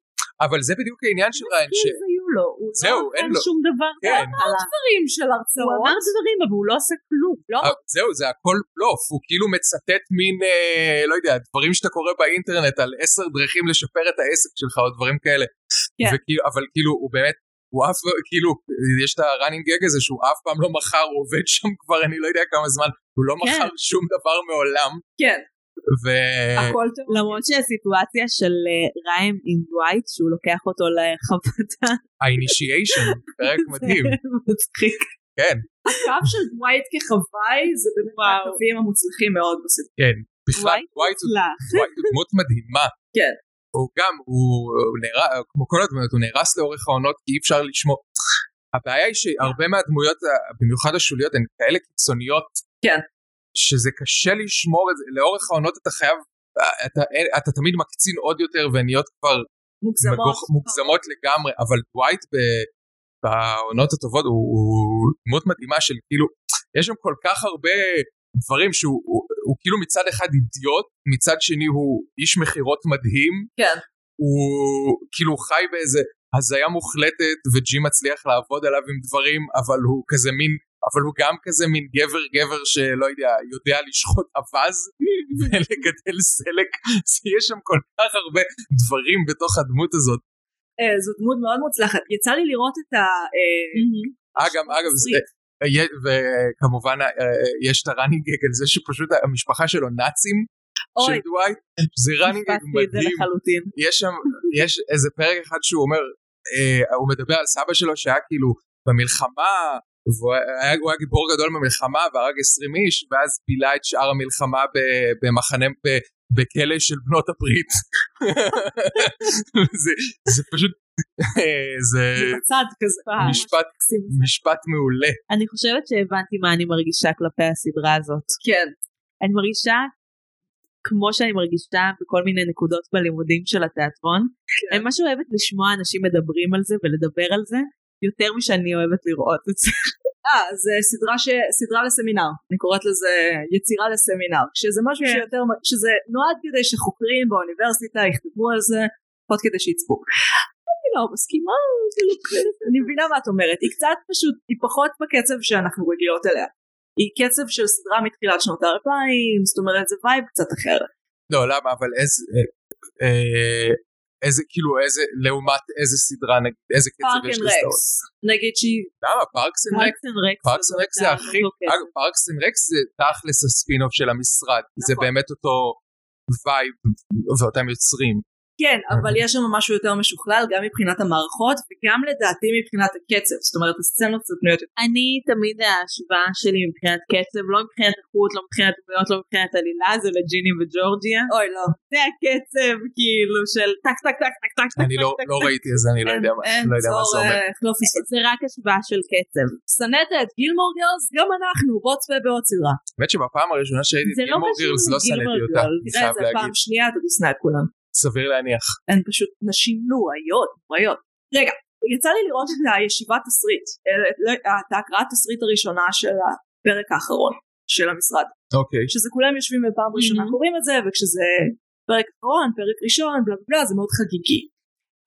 Speaker 2: אבל זה בדיוק העניין של ריין, ש...
Speaker 3: כאילו היו לו. הוא
Speaker 2: זהו,
Speaker 3: לא
Speaker 2: אין
Speaker 3: עשה
Speaker 2: לו.
Speaker 3: שום דבר.
Speaker 2: כן.
Speaker 3: עליו.
Speaker 1: דברים של
Speaker 3: הוא
Speaker 1: הרצאות.
Speaker 3: אמר דברים אבל הוא לא עשה כלום. לא
Speaker 2: אה, זהו, זה הכל בלוף, הוא כאילו מצטט מין, אה, לא יודע, דברים שאתה קורא באינטרנט על עשר דרכים לשפר את העסק שלך או דברים כאלה.
Speaker 1: כן.
Speaker 2: וכאילו, אבל כאילו, הוא באמת, הוא אף, לא- כאילו, יש את הראנינג גג הזה שהוא אף פעם לא מכר, הוא עובד שם כבר אני לא יודע כמה זמן, הוא לא
Speaker 3: כן.
Speaker 2: מכר שום דבר מעולם,
Speaker 1: כן,
Speaker 2: ו...
Speaker 1: הכל טוב.
Speaker 3: למרות שהסיטואציה של אה, ריים עם דווייט שהוא לוקח אותו לחבטה.
Speaker 2: ה-initiation, פרק מדהים,
Speaker 3: מצחיק.
Speaker 2: כן,
Speaker 1: הקו של דווייט כחוואי זה באמת
Speaker 3: וואו.
Speaker 1: מהקווים המוצלחים מאוד בסרט.
Speaker 2: כן. בכלל,
Speaker 3: וואי,
Speaker 2: וואי, זו
Speaker 3: לה.
Speaker 2: וואי, זו דמות מדהימה.
Speaker 1: כן.
Speaker 2: הוא גם, הוא, הוא נהרס, כמו כל הדמויות, הוא נהרס לאורך העונות כי אי אפשר לשמור. הבעיה היא שהרבה מהדמויות, ה- במיוחד השוליות, הן כאלה קיצוניות.
Speaker 1: כן.
Speaker 2: שזה קשה לשמור את זה, לאורך העונות אתה חייב, אתה, אתה תמיד מקצין עוד יותר והן נהיות כבר
Speaker 1: מוגזמות.
Speaker 2: מגוח- מוגזמות לגמרי, אבל דווייט ב... בעונות הטובות הוא, הוא דמות מדהימה של כאילו, יש שם כל כך הרבה דברים שהוא הוא, הוא כאילו מצד אחד אידיוט, מצד שני הוא איש מכירות מדהים.
Speaker 1: כן.
Speaker 2: הוא כאילו חי באיזה הזיה מוחלטת וג'י מצליח לעבוד עליו עם דברים, אבל הוא כזה מין אבל הוא גם כזה מין גבר גבר שלא יודע, יודע לשחוט אווז ולגדל סלק, אז יש שם כל כך הרבה דברים בתוך הדמות הזאת.
Speaker 1: אה, זו דמות מאוד מוצלחת. יצא לי לראות את ה... אה,
Speaker 3: Mm-hmm.
Speaker 2: אגב, אגב, זה- אה, יה- וכמובן אה, אה, יש את הראנינג גג על זה שפשוט המשפחה שלו נאצים של
Speaker 3: Mm-hmm.
Speaker 1: אוי,
Speaker 2: דווייט, זה ראנינג גג
Speaker 3: הפספסתי את זה
Speaker 2: מדהים.
Speaker 3: לחלוטין.
Speaker 2: יש שם, יש איזה פרק אחד שהוא אומר, אה, הוא מדבר על סבא שלו שהיה כאילו במלחמה, והוא היה, הוא היה גיבור גדול במלחמה והרג 20 איש, ואז בילה את שאר המלחמה ב, במחנה, ב, בכלא של בנות הברית. זה, זה פשוט, אה, זה
Speaker 1: זה בצד כזה.
Speaker 2: משפט,
Speaker 1: מקסים.
Speaker 2: משפט מעולה.
Speaker 3: אני חושבת שהבנתי מה אני מרגישה כלפי הסדרה הזאת.
Speaker 1: כן.
Speaker 3: אני מרגישה כמו שאני מרגישה בכל מיני נקודות בלימודים של התיאטרון.
Speaker 1: כן.
Speaker 3: אני ממש אוהבת לשמוע אנשים מדברים על זה ולדבר על זה, יותר משאני אוהבת לראות את זה.
Speaker 1: אה, זה סדרה, ש... סדרה לסמינר, אני קוראת לזה יצירה לסמינר, שזה משהו
Speaker 3: כן.
Speaker 1: שיותר, שזה נועד כדי שחוקרים באוניברסיטה יכתבו על זה, לפחות כדי שיצפו. אני לא מסכימה, זה לא כזה. אני מבינה מה את אומרת, היא קצת פשוט, היא פחות בקצב שאנחנו רגילות אליה. היא קצב של סדרה מתחילת שנות האלפיים, זאת אומרת זה וייב קצת אחר.
Speaker 2: לא, למה, אבל איזה, אה, אה, איזה, כאילו, איזה, לעומת איזה סדרה, נגיד, איזה קצב
Speaker 1: פארק
Speaker 2: יש
Speaker 1: אנד
Speaker 2: לסדרות.
Speaker 1: רקס, נגיד שהיא,
Speaker 2: למה, פארקס אנד רקס?
Speaker 3: פארקס אנד רקס.
Speaker 2: פארקס אנד רקס זה הכי, אגב פארקס אנד רקס זה תכלס הספינוף של המשרד,
Speaker 3: נכון.
Speaker 2: זה באמת אותו וייב ואותם יוצרים.
Speaker 1: כן,
Speaker 2: אוקיי.
Speaker 1: אבל יש שם משהו יותר משוכלל גם מבחינת המערכות וגם לדעתי מבחינת הקצב, זאת אומרת הסצנות קצת בנויות
Speaker 3: אני תמיד ההשוואה שלי מבחינת קצב, לא מבחינת איכות, לא מבחינת דמויות, לא מבחינת עלילה, זה לג'יני וג'ורג'יה.
Speaker 1: אוי לא.
Speaker 3: זה הקצב כאילו של טק טק טק טק טק טק
Speaker 2: אני
Speaker 3: טק
Speaker 2: לא
Speaker 3: טק
Speaker 2: לא
Speaker 3: טק.
Speaker 2: ראיתי אז אני לא יודע מה- לא יודע מה זה אומר.
Speaker 1: צורך, לא פספס.
Speaker 3: זה רק השוואה של קצב.
Speaker 1: שנאת את גילמור גרס? גם אנחנו, בוא צפה בעוד סדרה.
Speaker 2: האמת שבפעם הראשונה שראיתי את
Speaker 3: זה לא
Speaker 2: גילמור
Speaker 3: קשור
Speaker 2: גירלס לא
Speaker 3: לגילמור
Speaker 2: שנאתי אותה,
Speaker 3: גרלס.
Speaker 2: אני
Speaker 1: תראה את
Speaker 2: חייב
Speaker 1: זה פעם
Speaker 2: להגיד,
Speaker 1: שנייה, אתה תשנא את כולם.
Speaker 2: סביר להניח.
Speaker 1: הן פשוט נשים נוראיות, נוראיות. רגע, יצא לי לראות את הישיבת תסריט, אה, לא, את ההקראת תסריט הראשונה של הפרק האחרון של המשרד.
Speaker 2: אוקיי,
Speaker 1: שזה כולם יושבים ופעם ראשונה
Speaker 3: Mhm.
Speaker 1: קוראים את זה, וכשזה פרק אחרון, פרק ראשון, בלה בלה בלה, זה מאוד חגיגי.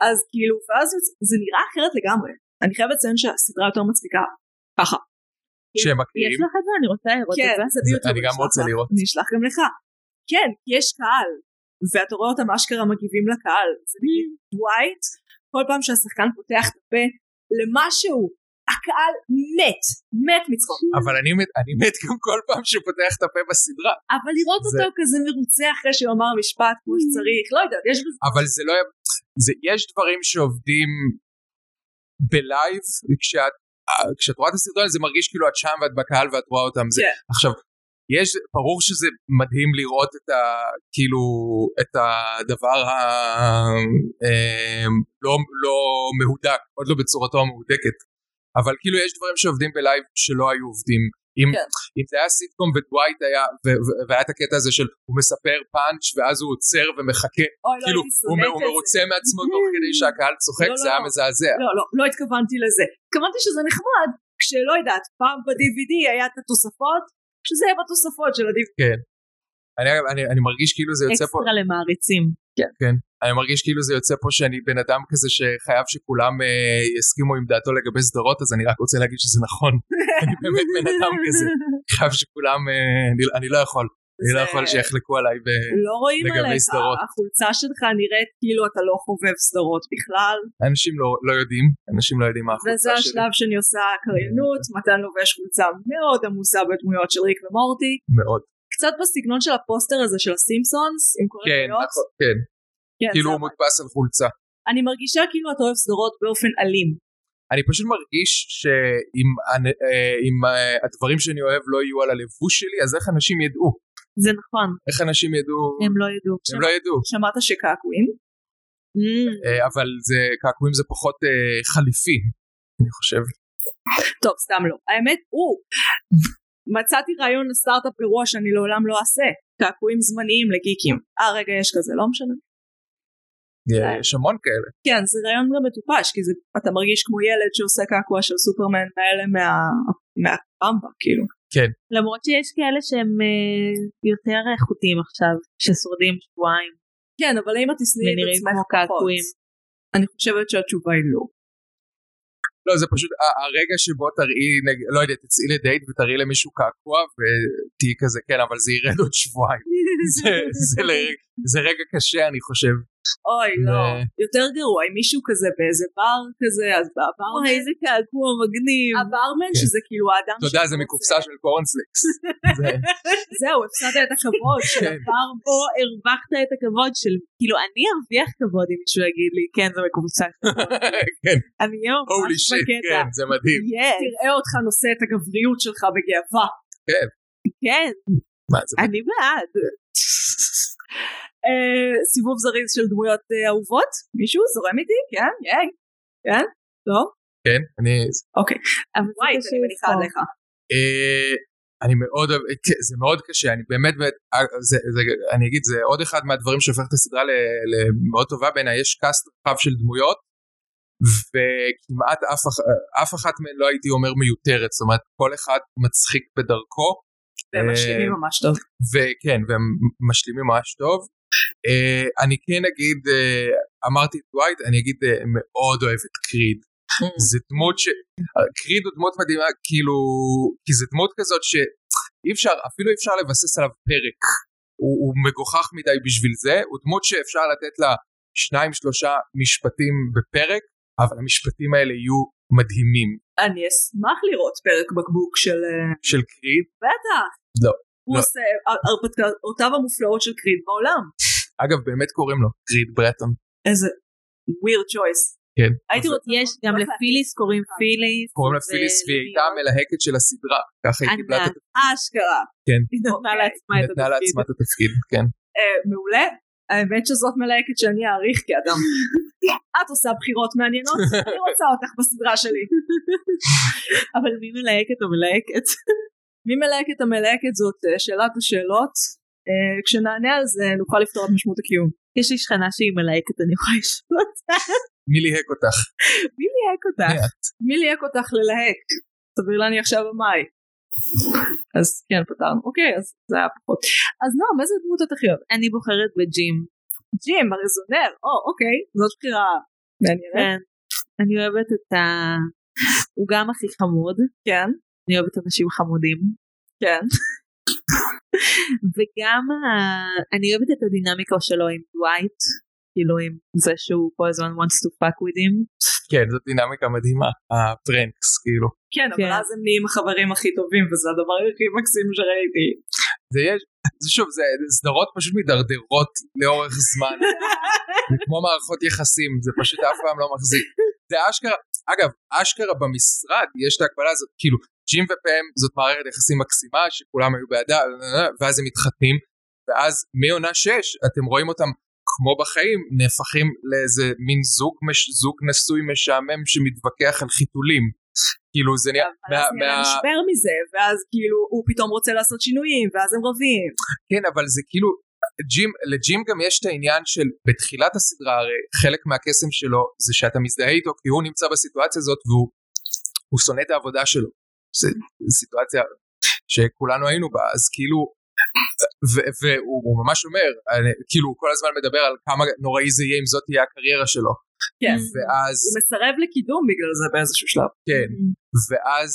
Speaker 1: אז כאילו, ואז זה- זה נראה אחרת לגמרי. אני חייבת לציין שהסדרה יותר מצחיקה. ככה.
Speaker 2: שהם
Speaker 3: יש
Speaker 2: מקריאים,
Speaker 3: לך את זה? אני רוצה לראות את
Speaker 1: כן,
Speaker 3: זה.
Speaker 1: זה ביוטיוב.
Speaker 2: אני גם
Speaker 1: אשלח
Speaker 2: רוצה
Speaker 1: לך.
Speaker 2: לראות.
Speaker 1: אני אשלח גם לך. כן, כי יש קהל, ואתה רואה אותם אשכרה מגיבים לקהל. זה נגיד דווייט, כל פעם שהשחקן פותח את הפה למשהו, הקהל מת, מת מצחוק.
Speaker 2: אבל אני מת- אני מת גם כל פעם שהוא פותח את הפה בסדרה,
Speaker 1: אבל לראות
Speaker 2: זה-
Speaker 1: אותו כזה מרוצה אחרי שהוא אמר משפט כמו
Speaker 3: Mm-hmm.
Speaker 1: שצריך, לא יודעת, יש בזה...
Speaker 2: אבל זה לא, היה- זה- יש דברים שעובדים בלייב, כשאת אה, כשאת רואה את הסרטון הזה, זה מרגיש כאילו את שם ואת בקהל ואת רואה אותם, זה
Speaker 1: כן.
Speaker 2: עכשיו, יש, ברור שזה מדהים לראות את ה... כאילו, את הדבר ה... אמ, לא, לא מהודק, עוד לא בצורתו המהודקת. אבל כאילו יש דברים שעובדים בלייב שלא היו עובדים. אם,
Speaker 1: כן.
Speaker 2: אם זה היה סיטקום ודווייט היה, ו, ו, והיה את הקטע הזה של הוא מספר פאנץ' ואז הוא עוצר ומחכה,
Speaker 1: אוי, לא,
Speaker 2: כאילו
Speaker 1: הייתי
Speaker 2: הוא,
Speaker 1: שונאת
Speaker 2: הוא
Speaker 1: את זה.
Speaker 2: מרוצה מעצמו תוך כדי שהקהל צוחק,
Speaker 1: לא, לא,
Speaker 2: זה היה
Speaker 1: לא.
Speaker 2: מזעזע.
Speaker 1: לא, לא, לא התכוונתי לזה. התכוונתי שזה נחמד, כשלא יודעת, פעם ב-DVD היה את התוספות, שזה היה בתוספות של ה-DVD.
Speaker 2: אני, אני, אני מרגיש כאילו זה יוצא פה...
Speaker 3: אקסטרה למעריצים.
Speaker 2: אני מרגיש כאילו זה יוצא פה שאני בן אדם כזה שחייב שכולם אה, יסכימו עם דעתו לגבי סדרות, אז אני רק רוצה להגיד שזה נכון. אני באמת בן אדם כזה. חייב שכולם, אה, אני, אני לא יכול. אני לא
Speaker 1: זה-
Speaker 2: יכול שיחלקו עליי ב...
Speaker 1: לא רואים
Speaker 2: לגבי
Speaker 1: עליך,
Speaker 2: סדרות.
Speaker 1: החולצה שלך נראית כאילו אתה לא חובב סדרות בכלל,
Speaker 2: אנשים לא, לא יודעים, אנשים לא יודעים מה
Speaker 1: וזה
Speaker 2: החולצה שלי.
Speaker 1: השלב שאני עושה קריינות, מתן לובש חולצה מאוד עמוסה בדמויות של ריק ומורטי,
Speaker 2: מאוד.
Speaker 1: קצת בסגנון של הפוסטר הזה של הסימפסונס, עם כל
Speaker 2: כן,
Speaker 1: הדמויות.
Speaker 2: נכון, כן.
Speaker 1: כן,
Speaker 2: כאילו
Speaker 1: זה-
Speaker 2: הוא מודפס על חולצה.
Speaker 1: אני מרגישה כאילו אתה אוהב סדרות באופן אלים.
Speaker 2: אני פשוט מרגיש שאם הנ- אה, אם, אה, הדברים שאני אוהב לא יהיו על הלבוש שלי, אז איך אנשים ידעו?
Speaker 3: זה נכון,
Speaker 2: איך אנשים ידעו?
Speaker 3: הם לא ידעו.
Speaker 2: הם לא ידעו.
Speaker 1: שמעת שקעקועים?
Speaker 3: Mm,
Speaker 2: אה, אבל זה, קעקועים זה פחות אה, חליפי, אני חושב.
Speaker 1: טוב, סתם לא. האמת, הוא, מצאתי רעיון לסטארט-אפ גרוע שאני לעולם לא אעשה. קעקועים זמניים לגיקים. אה, רגע, יש כזה, לא משנה.
Speaker 2: אה, יש המון כאלה.
Speaker 1: כן, זה רעיון גם מטופש, כי זה, אתה מרגיש כמו ילד שעושה קעקוע של סופרמן האלה מה... מהרמבה, כאילו.
Speaker 3: למרות שיש כאלה שהם אה, יותר איכותיים עכשיו, ששורדים שבועיים.
Speaker 1: כן, אבל האם את תשנאי את
Speaker 3: ונראים
Speaker 1: עצמך
Speaker 3: כמו
Speaker 1: פחות?
Speaker 3: קעקועים.
Speaker 1: אני חושבת שהתשובה היא לא.
Speaker 2: לא, זה פשוט ה- הרגע שבו תראי, נג- לא יודע, תצאי לדייט ותראי למישהו קעקוע ותהיי כזה, כן, אבל זה ירד עוד שבועיים. זה- זה לא לרגע- זה רגע קשה, אני חושב.
Speaker 1: אוי, לא.
Speaker 2: זה-
Speaker 1: יותר גרוע, אם מישהו כזה באיזה בר כזה, אז
Speaker 3: וואי,
Speaker 1: הברמן,
Speaker 3: איזה קעקוע מגניב.
Speaker 1: הברמן
Speaker 2: כן.
Speaker 1: שזה כאילו האדם
Speaker 2: אתה יודע, זה
Speaker 1: שרוצה-
Speaker 2: מקופסה של קורנפלקס. זה-
Speaker 1: זהו, הפסדת את הכבוד של
Speaker 2: כן.
Speaker 1: הבר.
Speaker 3: או הרווחת את הכבוד של, כאילו, אני ארוויח כבוד אם מישהו יגיד לי, כן, זה מקומצא.
Speaker 2: כן,
Speaker 3: אני אהיה ממש
Speaker 2: הולי שיט,
Speaker 3: בקטע.
Speaker 2: כן, זה מדהים.
Speaker 3: כן,
Speaker 1: תראה אותך נושא את הגבריות שלך בגאווה.
Speaker 3: כן,
Speaker 2: מה, זה
Speaker 3: אני בעד.
Speaker 1: אה, סיבוב זריז של דמויות אה, אהובות? מישהו זורם איתי? כן? יאי. כן? לא?
Speaker 2: כן, אני...
Speaker 3: אבל זה
Speaker 1: וואי,
Speaker 3: קשה
Speaker 1: אני מניחה
Speaker 3: לבחור.
Speaker 1: עליך.
Speaker 2: אה, אני מאוד, אוהב- כן, זה מאוד קשה, אני באמת, באמת- אה, זה, זה, אני אגיד, זה עוד אחד מהדברים שהופך את הסדרה ל- למאוד טובה בעיניי, יש קאסט רחב של דמויות, וכמעט אף, אח- אף אחת מהן לא הייתי אומר מיותרת, זאת אומרת, כל אחד מצחיק בדרכו,
Speaker 1: והם
Speaker 2: אה,
Speaker 1: משלימים ממש טוב.
Speaker 2: וכן, והם משלימים ממש טוב. אה, אני כן אגיד, אה, אמרתי את וייט, אני אגיד, אה, מאוד אוהב את קריד. זה דמות ש... קריד הוא דמות מדהימה, כאילו... כי זה דמות כזאת שאי אפשר, אפילו אי אפשר לבסס עליו פרק. הוא, הוא מגוחך מדי בשביל זה, הוא דמות שאפשר לתת לה שניים שלושה משפטים בפרק, אבל המשפטים האלה יהיו מדהימים.
Speaker 1: אני אשמח לראות פרק בקבוק של... אה,
Speaker 2: של קריד,
Speaker 1: בטח.
Speaker 2: לא,
Speaker 1: הוא
Speaker 2: לא.
Speaker 1: עושה הר- הרפתקאותיו המופלאות של קריד בעולם.
Speaker 2: אגב באמת קוראים לו קריד ברטון.
Speaker 1: איזה weird choice.
Speaker 2: כן.
Speaker 1: הייתי רוצה...
Speaker 3: יש, גם לפיליס קוראים פיליס.
Speaker 2: קוראים לה פיליס
Speaker 3: לא,
Speaker 2: והיא הייתה המלהקת של הסדרה, ככה היא קיבלה את
Speaker 3: ענק.
Speaker 2: התפקיד,
Speaker 1: אשכרה.
Speaker 2: כן.
Speaker 3: היא נתנה לעצמה את
Speaker 2: נתנה לעצמה
Speaker 3: התפקיד.
Speaker 2: את התפקיד, כן.
Speaker 1: אה, מעולה. האמת שזאת מלהקת שאני אעריך כאדם. את עושה בחירות מעניינות, אני רוצה אותך בסדרה שלי.
Speaker 3: אבל מי מלהקת או מלהקת?
Speaker 1: מי מלהקת המלהקת זאת אה, שאלת השאלות. אה, כשנענה על זה נוכל לפתור את משמעות הקיום.
Speaker 3: יש לי שכנה שהיא מלהקת, אני יכולה לשאול אותה.
Speaker 2: מי ליהק אותך?
Speaker 3: מי ליהק אותה?
Speaker 2: מי את?
Speaker 1: מי ליהק אותך ללהק? סביר להניח שהבמאי. אז כן פתרנו. אוקיי, אז זה היה פחות. אז נועם, איזה דמות את הכי אוהבת?
Speaker 3: אני בוחרת בג'ים.
Speaker 1: ג'ים, הרזונר. או, אוקיי, זאת בחירה מעניינת.
Speaker 3: כן. אני אוהבת את ה... הוא גם הכי חמוד.
Speaker 1: כן,
Speaker 3: אני אוהבת אנשים חמודים.
Speaker 1: כן.
Speaker 3: וגם ה... אני אוהבת את הדינמיקה שלו עם דווייט. כאילו עם זה שהוא כל הזמן wants to fuck with him.
Speaker 2: כן, זאת דינמיקה מדהימה, הפרנקס, כאילו.
Speaker 1: כן, אבל
Speaker 3: כן.
Speaker 1: אז הם נהיים החברים הכי טובים, וזה הדבר הכי מקסים שראיתי.
Speaker 2: זה יש, זה שוב, זה סדרות פשוט מידרדרות לאורך זמן. זה כמו מערכות יחסים, זה פשוט אף פעם לא מחזיק. זה אשכרה, אגב, אשכרה במשרד יש את ההקבלה הזאת, כאילו, ג'ים ופאם זאת מערכת יחסים מקסימה, שכולם היו בעדה, ואז הם מתחתנים, ואז מעונה 6 אתם רואים אותם כמו בחיים, נהפכים לאיזה מין זוג, מש, זוג נשוי משעמם שמתווכח על חיתולים. כאילו זה נהיה,
Speaker 1: אבל אז נהיה להם משבר מזה, ואז כאילו הוא פתאום רוצה לעשות שינויים, ואז הם רבים.
Speaker 2: כן, אבל זה כאילו, ג'ים, לג'ים גם יש את העניין של בתחילת הסדרה, הרי חלק מהקסם שלו זה שאתה מזדהה איתו, כי הוא נמצא בסיטואציה הזאת והוא הוא שונא את העבודה שלו. זו סיטואציה שכולנו היינו בה, אז כאילו, ו- והוא הוא ממש אומר, אני- כאילו הוא כל הזמן מדבר על כמה נוראי זה יהיה אם זאת תהיה הקריירה שלו.
Speaker 1: כן.
Speaker 2: ואז,
Speaker 1: הוא מסרב לקידום בגלל זה באיזשהו שלב.
Speaker 2: כן, ואז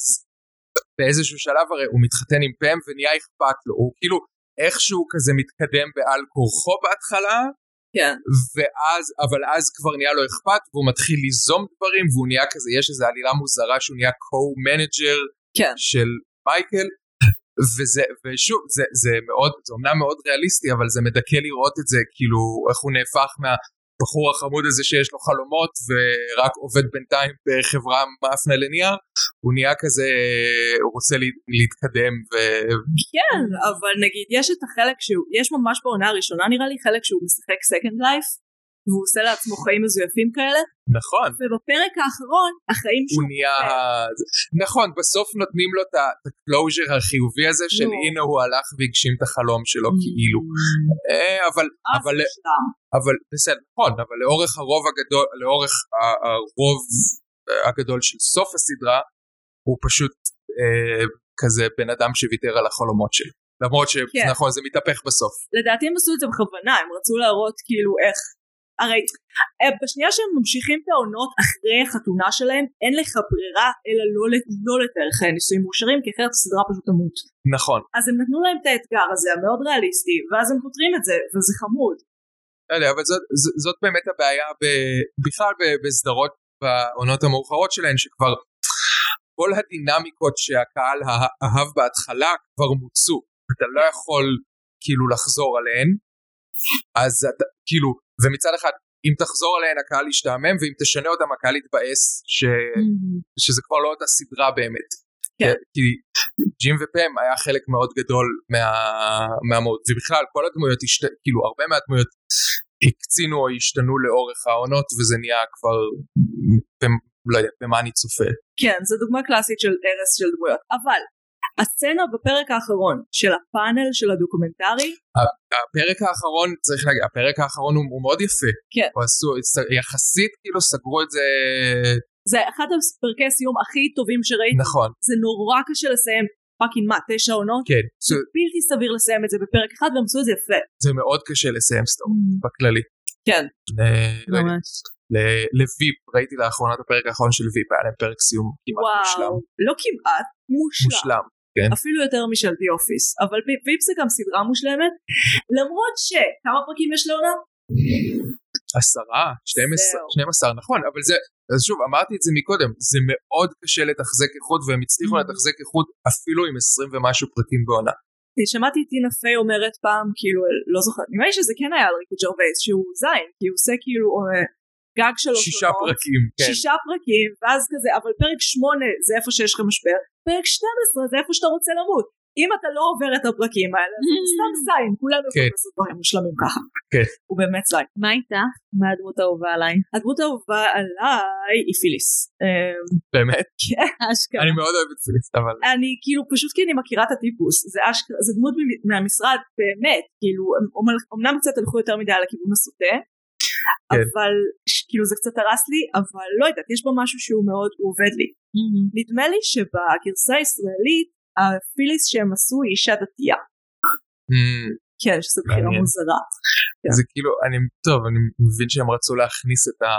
Speaker 2: באיזשהו שלב הרי הוא מתחתן עם פם ונהיה אכפת לו, הוא כאילו איכשהו כזה מתקדם בעל כורחו בהתחלה,
Speaker 1: כן.
Speaker 2: ואז, אבל אז כבר נהיה לו אכפת, והוא מתחיל ליזום דברים, והוא נהיה כזה, יש איזו עלילה מוזרה שהוא נהיה co-manager
Speaker 1: כן.
Speaker 2: של מייקל, וזה, ושוב, זה, זה מאוד, זה אומנם מאוד ריאליסטי, אבל זה מדכא לראות את זה, כאילו, איך הוא נהפך מהבחור החמוד הזה שיש לו חלומות, ורק עובד בינתיים בחברה מאפנה לנייר, הוא נהיה כזה, הוא רוצה לה- להתקדם, ו...
Speaker 1: כן, אבל נגיד יש את החלק שהוא, יש ממש בעונה הראשונה נראה לי חלק שהוא משחק סקנד לייף, והוא עושה לעצמו חיים מזויפים כאלה,
Speaker 2: נכון.
Speaker 1: ובפרק האחרון החיים
Speaker 2: הוא
Speaker 1: שהוא...
Speaker 2: נהיה...
Speaker 1: כן.
Speaker 2: נכון, בסוף נותנים לו את ה- את הקלוז'ר החיובי הזה של
Speaker 1: נו. Mm.
Speaker 2: הנה הוא הלך והגשים את החלום שלו כאילו. אה, אבל, אבל,
Speaker 1: אף שלב.
Speaker 2: אבל בסדר, נכון, אבל לאורך הרוב הגדול, לאורך ה- הרוב הגדול של סוף הסדרה, הוא פשוט אה, כזה בן אדם שוויתר על החלומות שלו. למרות
Speaker 1: כן.
Speaker 2: שנכון, זה מתהפך בסוף.
Speaker 1: לדעתי הם עשו את זה בכוונה, הם רצו להראות כאילו איך הרי אה, בשנייה שהם ממשיכים את העונות אחרי החתונה שלהם, אין לך ברירה אלא לא, לת- לא לתאר לך נישואים מאושרים, כי אחרת הסדרה פשוט תמות.
Speaker 2: נכון.
Speaker 1: אז הם נתנו להם את האתגר הזה, המאוד ריאליסטי, ואז הם פותרים את זה, וזה חמוד.
Speaker 2: לא יודע, אבל זאת, ז- זאת באמת הבעיה ב, בכלל ב- בסדרות בעונות המאוחרות שלהן, שכבר כל הדינמיקות שהקהל הא- אהב בהתחלה כבר מוצו. אתה לא יכול כאילו לחזור עליהן, אז אתה כאילו, ומצד אחד, אם תחזור עליהן הקהל ישתעמם, ואם תשנה אותם הקהל יתבאס, ש, שזה כבר לא אותה סדרה באמת.
Speaker 1: כן.
Speaker 2: כי ג'ים ופם היה חלק מאוד גדול מה, מהמהות, ובכלל כל הדמויות, השת, כאילו הרבה מהדמויות הקצינו או השתנו לאורך העונות, וזה נהיה כבר, במ- לא יודע, במה אני צופה.
Speaker 1: כן, זו דוגמה קלאסית של הרס של דמויות. אבל, הסצנה בפרק האחרון של הפאנל של הדוקומנטרי,
Speaker 2: הפרק האחרון, צריך להגיד, הפרק האחרון הוא, הוא מאוד יפה.
Speaker 1: כן.
Speaker 2: הוא עשו, יחסית כאילו סגרו את זה,
Speaker 1: זה אחד הפרקי הסיום הכי טובים שראיתי.
Speaker 2: נכון,
Speaker 1: זה נורא קשה לסיים, פאקינג מה, תשע עונות?
Speaker 2: כן.
Speaker 1: זה
Speaker 2: זה,
Speaker 1: בלתי סביר לסיים את זה בפרק אחד, והם עשו את זה יפה.
Speaker 2: זה מאוד קשה לסיים סטורי, בכללי.
Speaker 1: כן.
Speaker 2: אה, לא יודע,
Speaker 3: ממש.
Speaker 2: ל- לוויפ, ראיתי לאחרונה את הפרק האחרון של ויפ, היה להם פרק סיום כמעט מושלם.
Speaker 1: וואו, לא כמעט, מושלם.
Speaker 2: מושלם.
Speaker 1: אפילו יותר משל די אופיס, אבל ו- ויפ זה גם סדרה מושלמת, למרות שכמה פרקים יש לעונה?
Speaker 2: עשרה, 12,
Speaker 1: זהו.
Speaker 2: 12, נכון, אבל זה, אז שוב, אמרתי את זה מקודם, זה מאוד קשה לתחזק איכות, והם הצליחו
Speaker 1: Mhm.
Speaker 2: לתחזק איכות אפילו עם 20 ומשהו פרקים בעונה.
Speaker 1: אני שמעתי את טינה פיי אומרת פעם, כאילו, לא זוכרת, נראה לי שזה כן היה על ריקי ג'רווייס, שהוא זין, כי הוא עושה כאילו אה, גג שלוש
Speaker 2: שישה
Speaker 1: עונות,
Speaker 2: פרקים, כן.
Speaker 1: שישה פרקים, ואז כזה, אבל פרק שמונה זה איפה שיש לך משבר, פרק 12 זה איפה שאתה רוצה למות. אם אתה לא עובר את הפרקים האלה, אתה סתם זין, כולנו יכולים
Speaker 2: כן.
Speaker 1: לעשות דברים מושלמים ככה.
Speaker 2: כן.
Speaker 1: הוא באמת זין.
Speaker 3: מה איתך? מה הדמות האהובה עליי?
Speaker 1: הדמות האהובה עליי היא פיליס. אה,
Speaker 2: באמת,
Speaker 1: כן.
Speaker 3: אשכרה.
Speaker 2: אני מאוד אוהב את פיליס, אבל
Speaker 1: אני כאילו פשוט כי אני מכירה את הטיפוס זה אשכרה זה דמות ממ- מהמשרד באמת כאילו הם אומנ- אומנם קצת הלכו יותר מדי על הכיוון הסוטה
Speaker 2: כן.
Speaker 1: אבל ש- כאילו זה קצת הרס לי אבל לא יודעת יש בה משהו שהוא מאוד הוא עובד לי נדמה לי שבגרסה הישראלית הפיליס שהם עשו היא אישה דתייה
Speaker 2: Hmm,
Speaker 1: כן שזו בחירה
Speaker 2: מעניין.
Speaker 1: מוזרה כן.
Speaker 2: זה כאילו, אני, טוב, אני מבין שהם רצו להכניס את ה...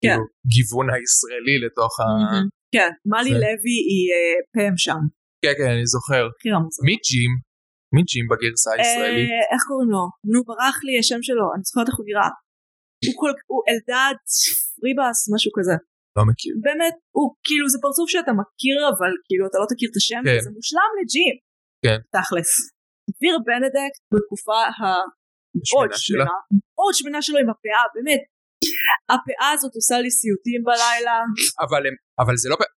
Speaker 2: כאילו, גיוון הישראלי לתוך ה...
Speaker 3: Mhm.
Speaker 1: כן מלי
Speaker 2: זה-
Speaker 1: לוי היא אה, פם שם
Speaker 2: כן, כן, אני זוכר.
Speaker 1: בחירה מוזרה
Speaker 2: מי ג'ים? מי ג'ים בגרסה הישראלית?
Speaker 1: אה, איך קוראים לו? נו ברח לי השם שלו, אני זוכרת איך הוא נראה. הוא כל... הוא אלדד ריבס, משהו כזה.
Speaker 2: לא מכיר.
Speaker 1: באמת, הוא כאילו זה פרצוף שאתה מכיר אבל כאילו אתה לא תכיר את השם,
Speaker 2: כן.
Speaker 1: זה מושלם לג'ים.
Speaker 2: כן.
Speaker 1: תכלס. דביר בנדק בתקופה המאוד
Speaker 2: השמנה שלה.
Speaker 1: שמנה, מאוד שמנה שלו עם הפאה, באמת. הפאה הזאת עושה לי סיוטים בלילה,
Speaker 2: אבל הם- אבל זה לא... ב-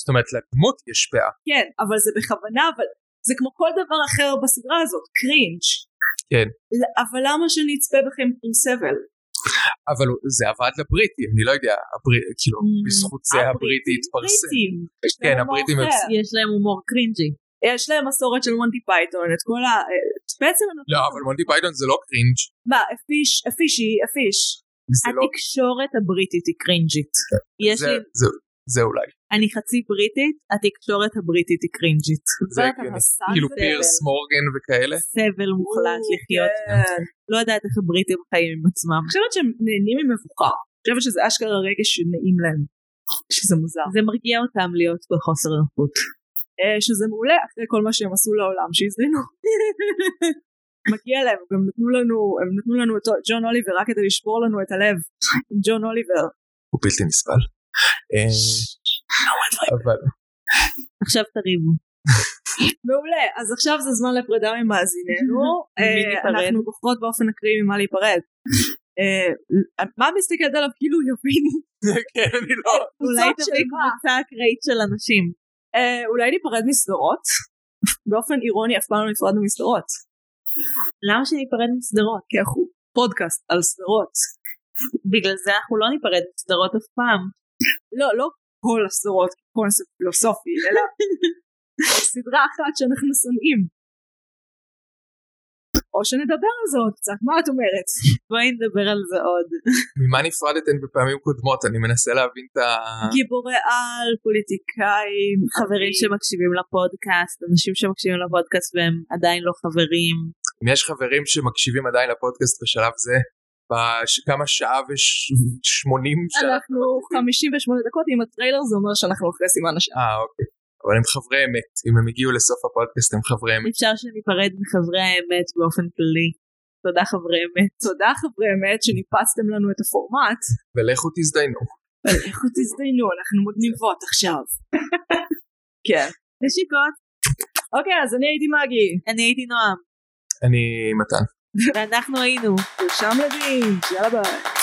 Speaker 2: זאת אומרת, לדמות יש פאה.
Speaker 1: כן, אבל זה בכוונה, אבל זה כמו כל דבר אחר בסדרה הזאת, קרינג'.
Speaker 2: כן.
Speaker 1: ל- אבל למה שאני אצפה בכם עם סבל?
Speaker 2: אבל הוא- זה עבד לבריטים, אני לא יודע, הברית, כאילו,
Speaker 3: Mm,
Speaker 2: בזכות זה הבריטי התפרסם.
Speaker 1: בריטים. יש להם
Speaker 2: כן,
Speaker 3: לא
Speaker 1: הומור
Speaker 2: הבריטים
Speaker 1: אחר.
Speaker 2: הם-
Speaker 3: יש להם הומור קרינג'י.
Speaker 1: יש להם מסורת של מונטי פייתון, את כל ה... בעצם... הם נותנים-
Speaker 2: לא, אבל מונטי פייתון זה לא קרינג',
Speaker 1: מה, אפיש, אפישי, אפיש.
Speaker 2: זה לא... כן.
Speaker 3: התקשורת הבריטית היא קרינג'ית. יש
Speaker 2: זה-
Speaker 3: לי,
Speaker 2: זה- זה אולי.
Speaker 3: אני חצי בריטית, התקשורת הבריטית היא קרינג'ית.
Speaker 2: זה
Speaker 1: זאת
Speaker 2: הגיוני.
Speaker 1: הרסה
Speaker 2: כאילו
Speaker 1: גדול.
Speaker 2: פירס מורגן וכאלה.
Speaker 3: סבל מוחלט
Speaker 1: או,
Speaker 2: אוקיי.
Speaker 3: לחיות.
Speaker 1: כן.
Speaker 3: לא יודעת איך הבריטים חיים עם עצמם.
Speaker 1: אני חושבת שהם נהנים ממבוכה. אני חושבת שזה אשכרה רגע שנעים להם. שזה מוזר.
Speaker 3: זה מרגיע אותם להיות בחוסר נוחות.
Speaker 1: אה, שזה מעולה אחרי כל מה שהם עשו לעולם שהזרינו. מגיע להם, גם נתנו לנו, הם נתנו לנו את ג'ון אוליבר רק כדי לשבור לנו את הלב. עם ג'ון אוליבר.
Speaker 2: הוא בלתי נסבל. אה, אבל
Speaker 3: עכשיו תריבו.
Speaker 1: מעולה, אז עכשיו זה זמן לפרידה ממאזיננו.
Speaker 3: ממי
Speaker 1: אה,
Speaker 3: ניפרד?
Speaker 1: אנחנו בוחרות באופן אקראי ממה להיפרד. אה, מה מסתכלת עליו כאילו יבין?
Speaker 2: כן, אני לא...
Speaker 3: אולי
Speaker 1: קבוצות של
Speaker 3: תביא
Speaker 1: מה?
Speaker 3: קבוצה אקראית של אנשים.
Speaker 1: אה, אולי ניפרד מסדרות? באופן אירוני אף פעם לא נפרדנו מסדרות.
Speaker 3: למה שניפרד מסדרות?
Speaker 1: כי אנחנו פודקאסט על סדרות.
Speaker 3: בגלל זה אנחנו לא ניפרד מסדרות אף פעם.
Speaker 1: לא, לא כל הסדרות קונספט פילוסופי, אלא סדרה אחת שאנחנו שונאים. או שנדבר על זה עוד קצת, מה את אומרת?
Speaker 3: בואי נדבר על זה עוד.
Speaker 2: ממה נפרדתן בפעמים קודמות? אני מנסה להבין את ה...
Speaker 1: גיבורי על, פוליטיקאים,
Speaker 3: חברים שמקשיבים לפודקאסט, אנשים שמקשיבים לפודקאסט והם עדיין לא חברים.
Speaker 2: אם יש חברים שמקשיבים עדיין לפודקאסט בשלב זה, בכמה שעה ושמונים שעה.
Speaker 1: אנחנו 58 דקות עם הטריילר זה אומר שאנחנו אחרי סימן השעה.
Speaker 2: אה, אוקיי. אבל הם חברי אמת, אם הם הגיעו לסוף הפודקאסט הם חברי אמת.
Speaker 3: אפשר שניפרד מחברי האמת באופן כללי. תודה חברי אמת.
Speaker 1: תודה חברי אמת שניפצתם לנו את הפורמט.
Speaker 2: ולכו תזדיינו.
Speaker 1: אבל איך תזדיינו אנחנו מגניבות עכשיו. כן.
Speaker 3: נשיקות.
Speaker 1: אוקיי אז אני הייתי מגי.
Speaker 3: אני הייתי נועם.
Speaker 2: אני מתן.
Speaker 3: ואנחנו היינו.
Speaker 1: שם לוין. יאללה ביי.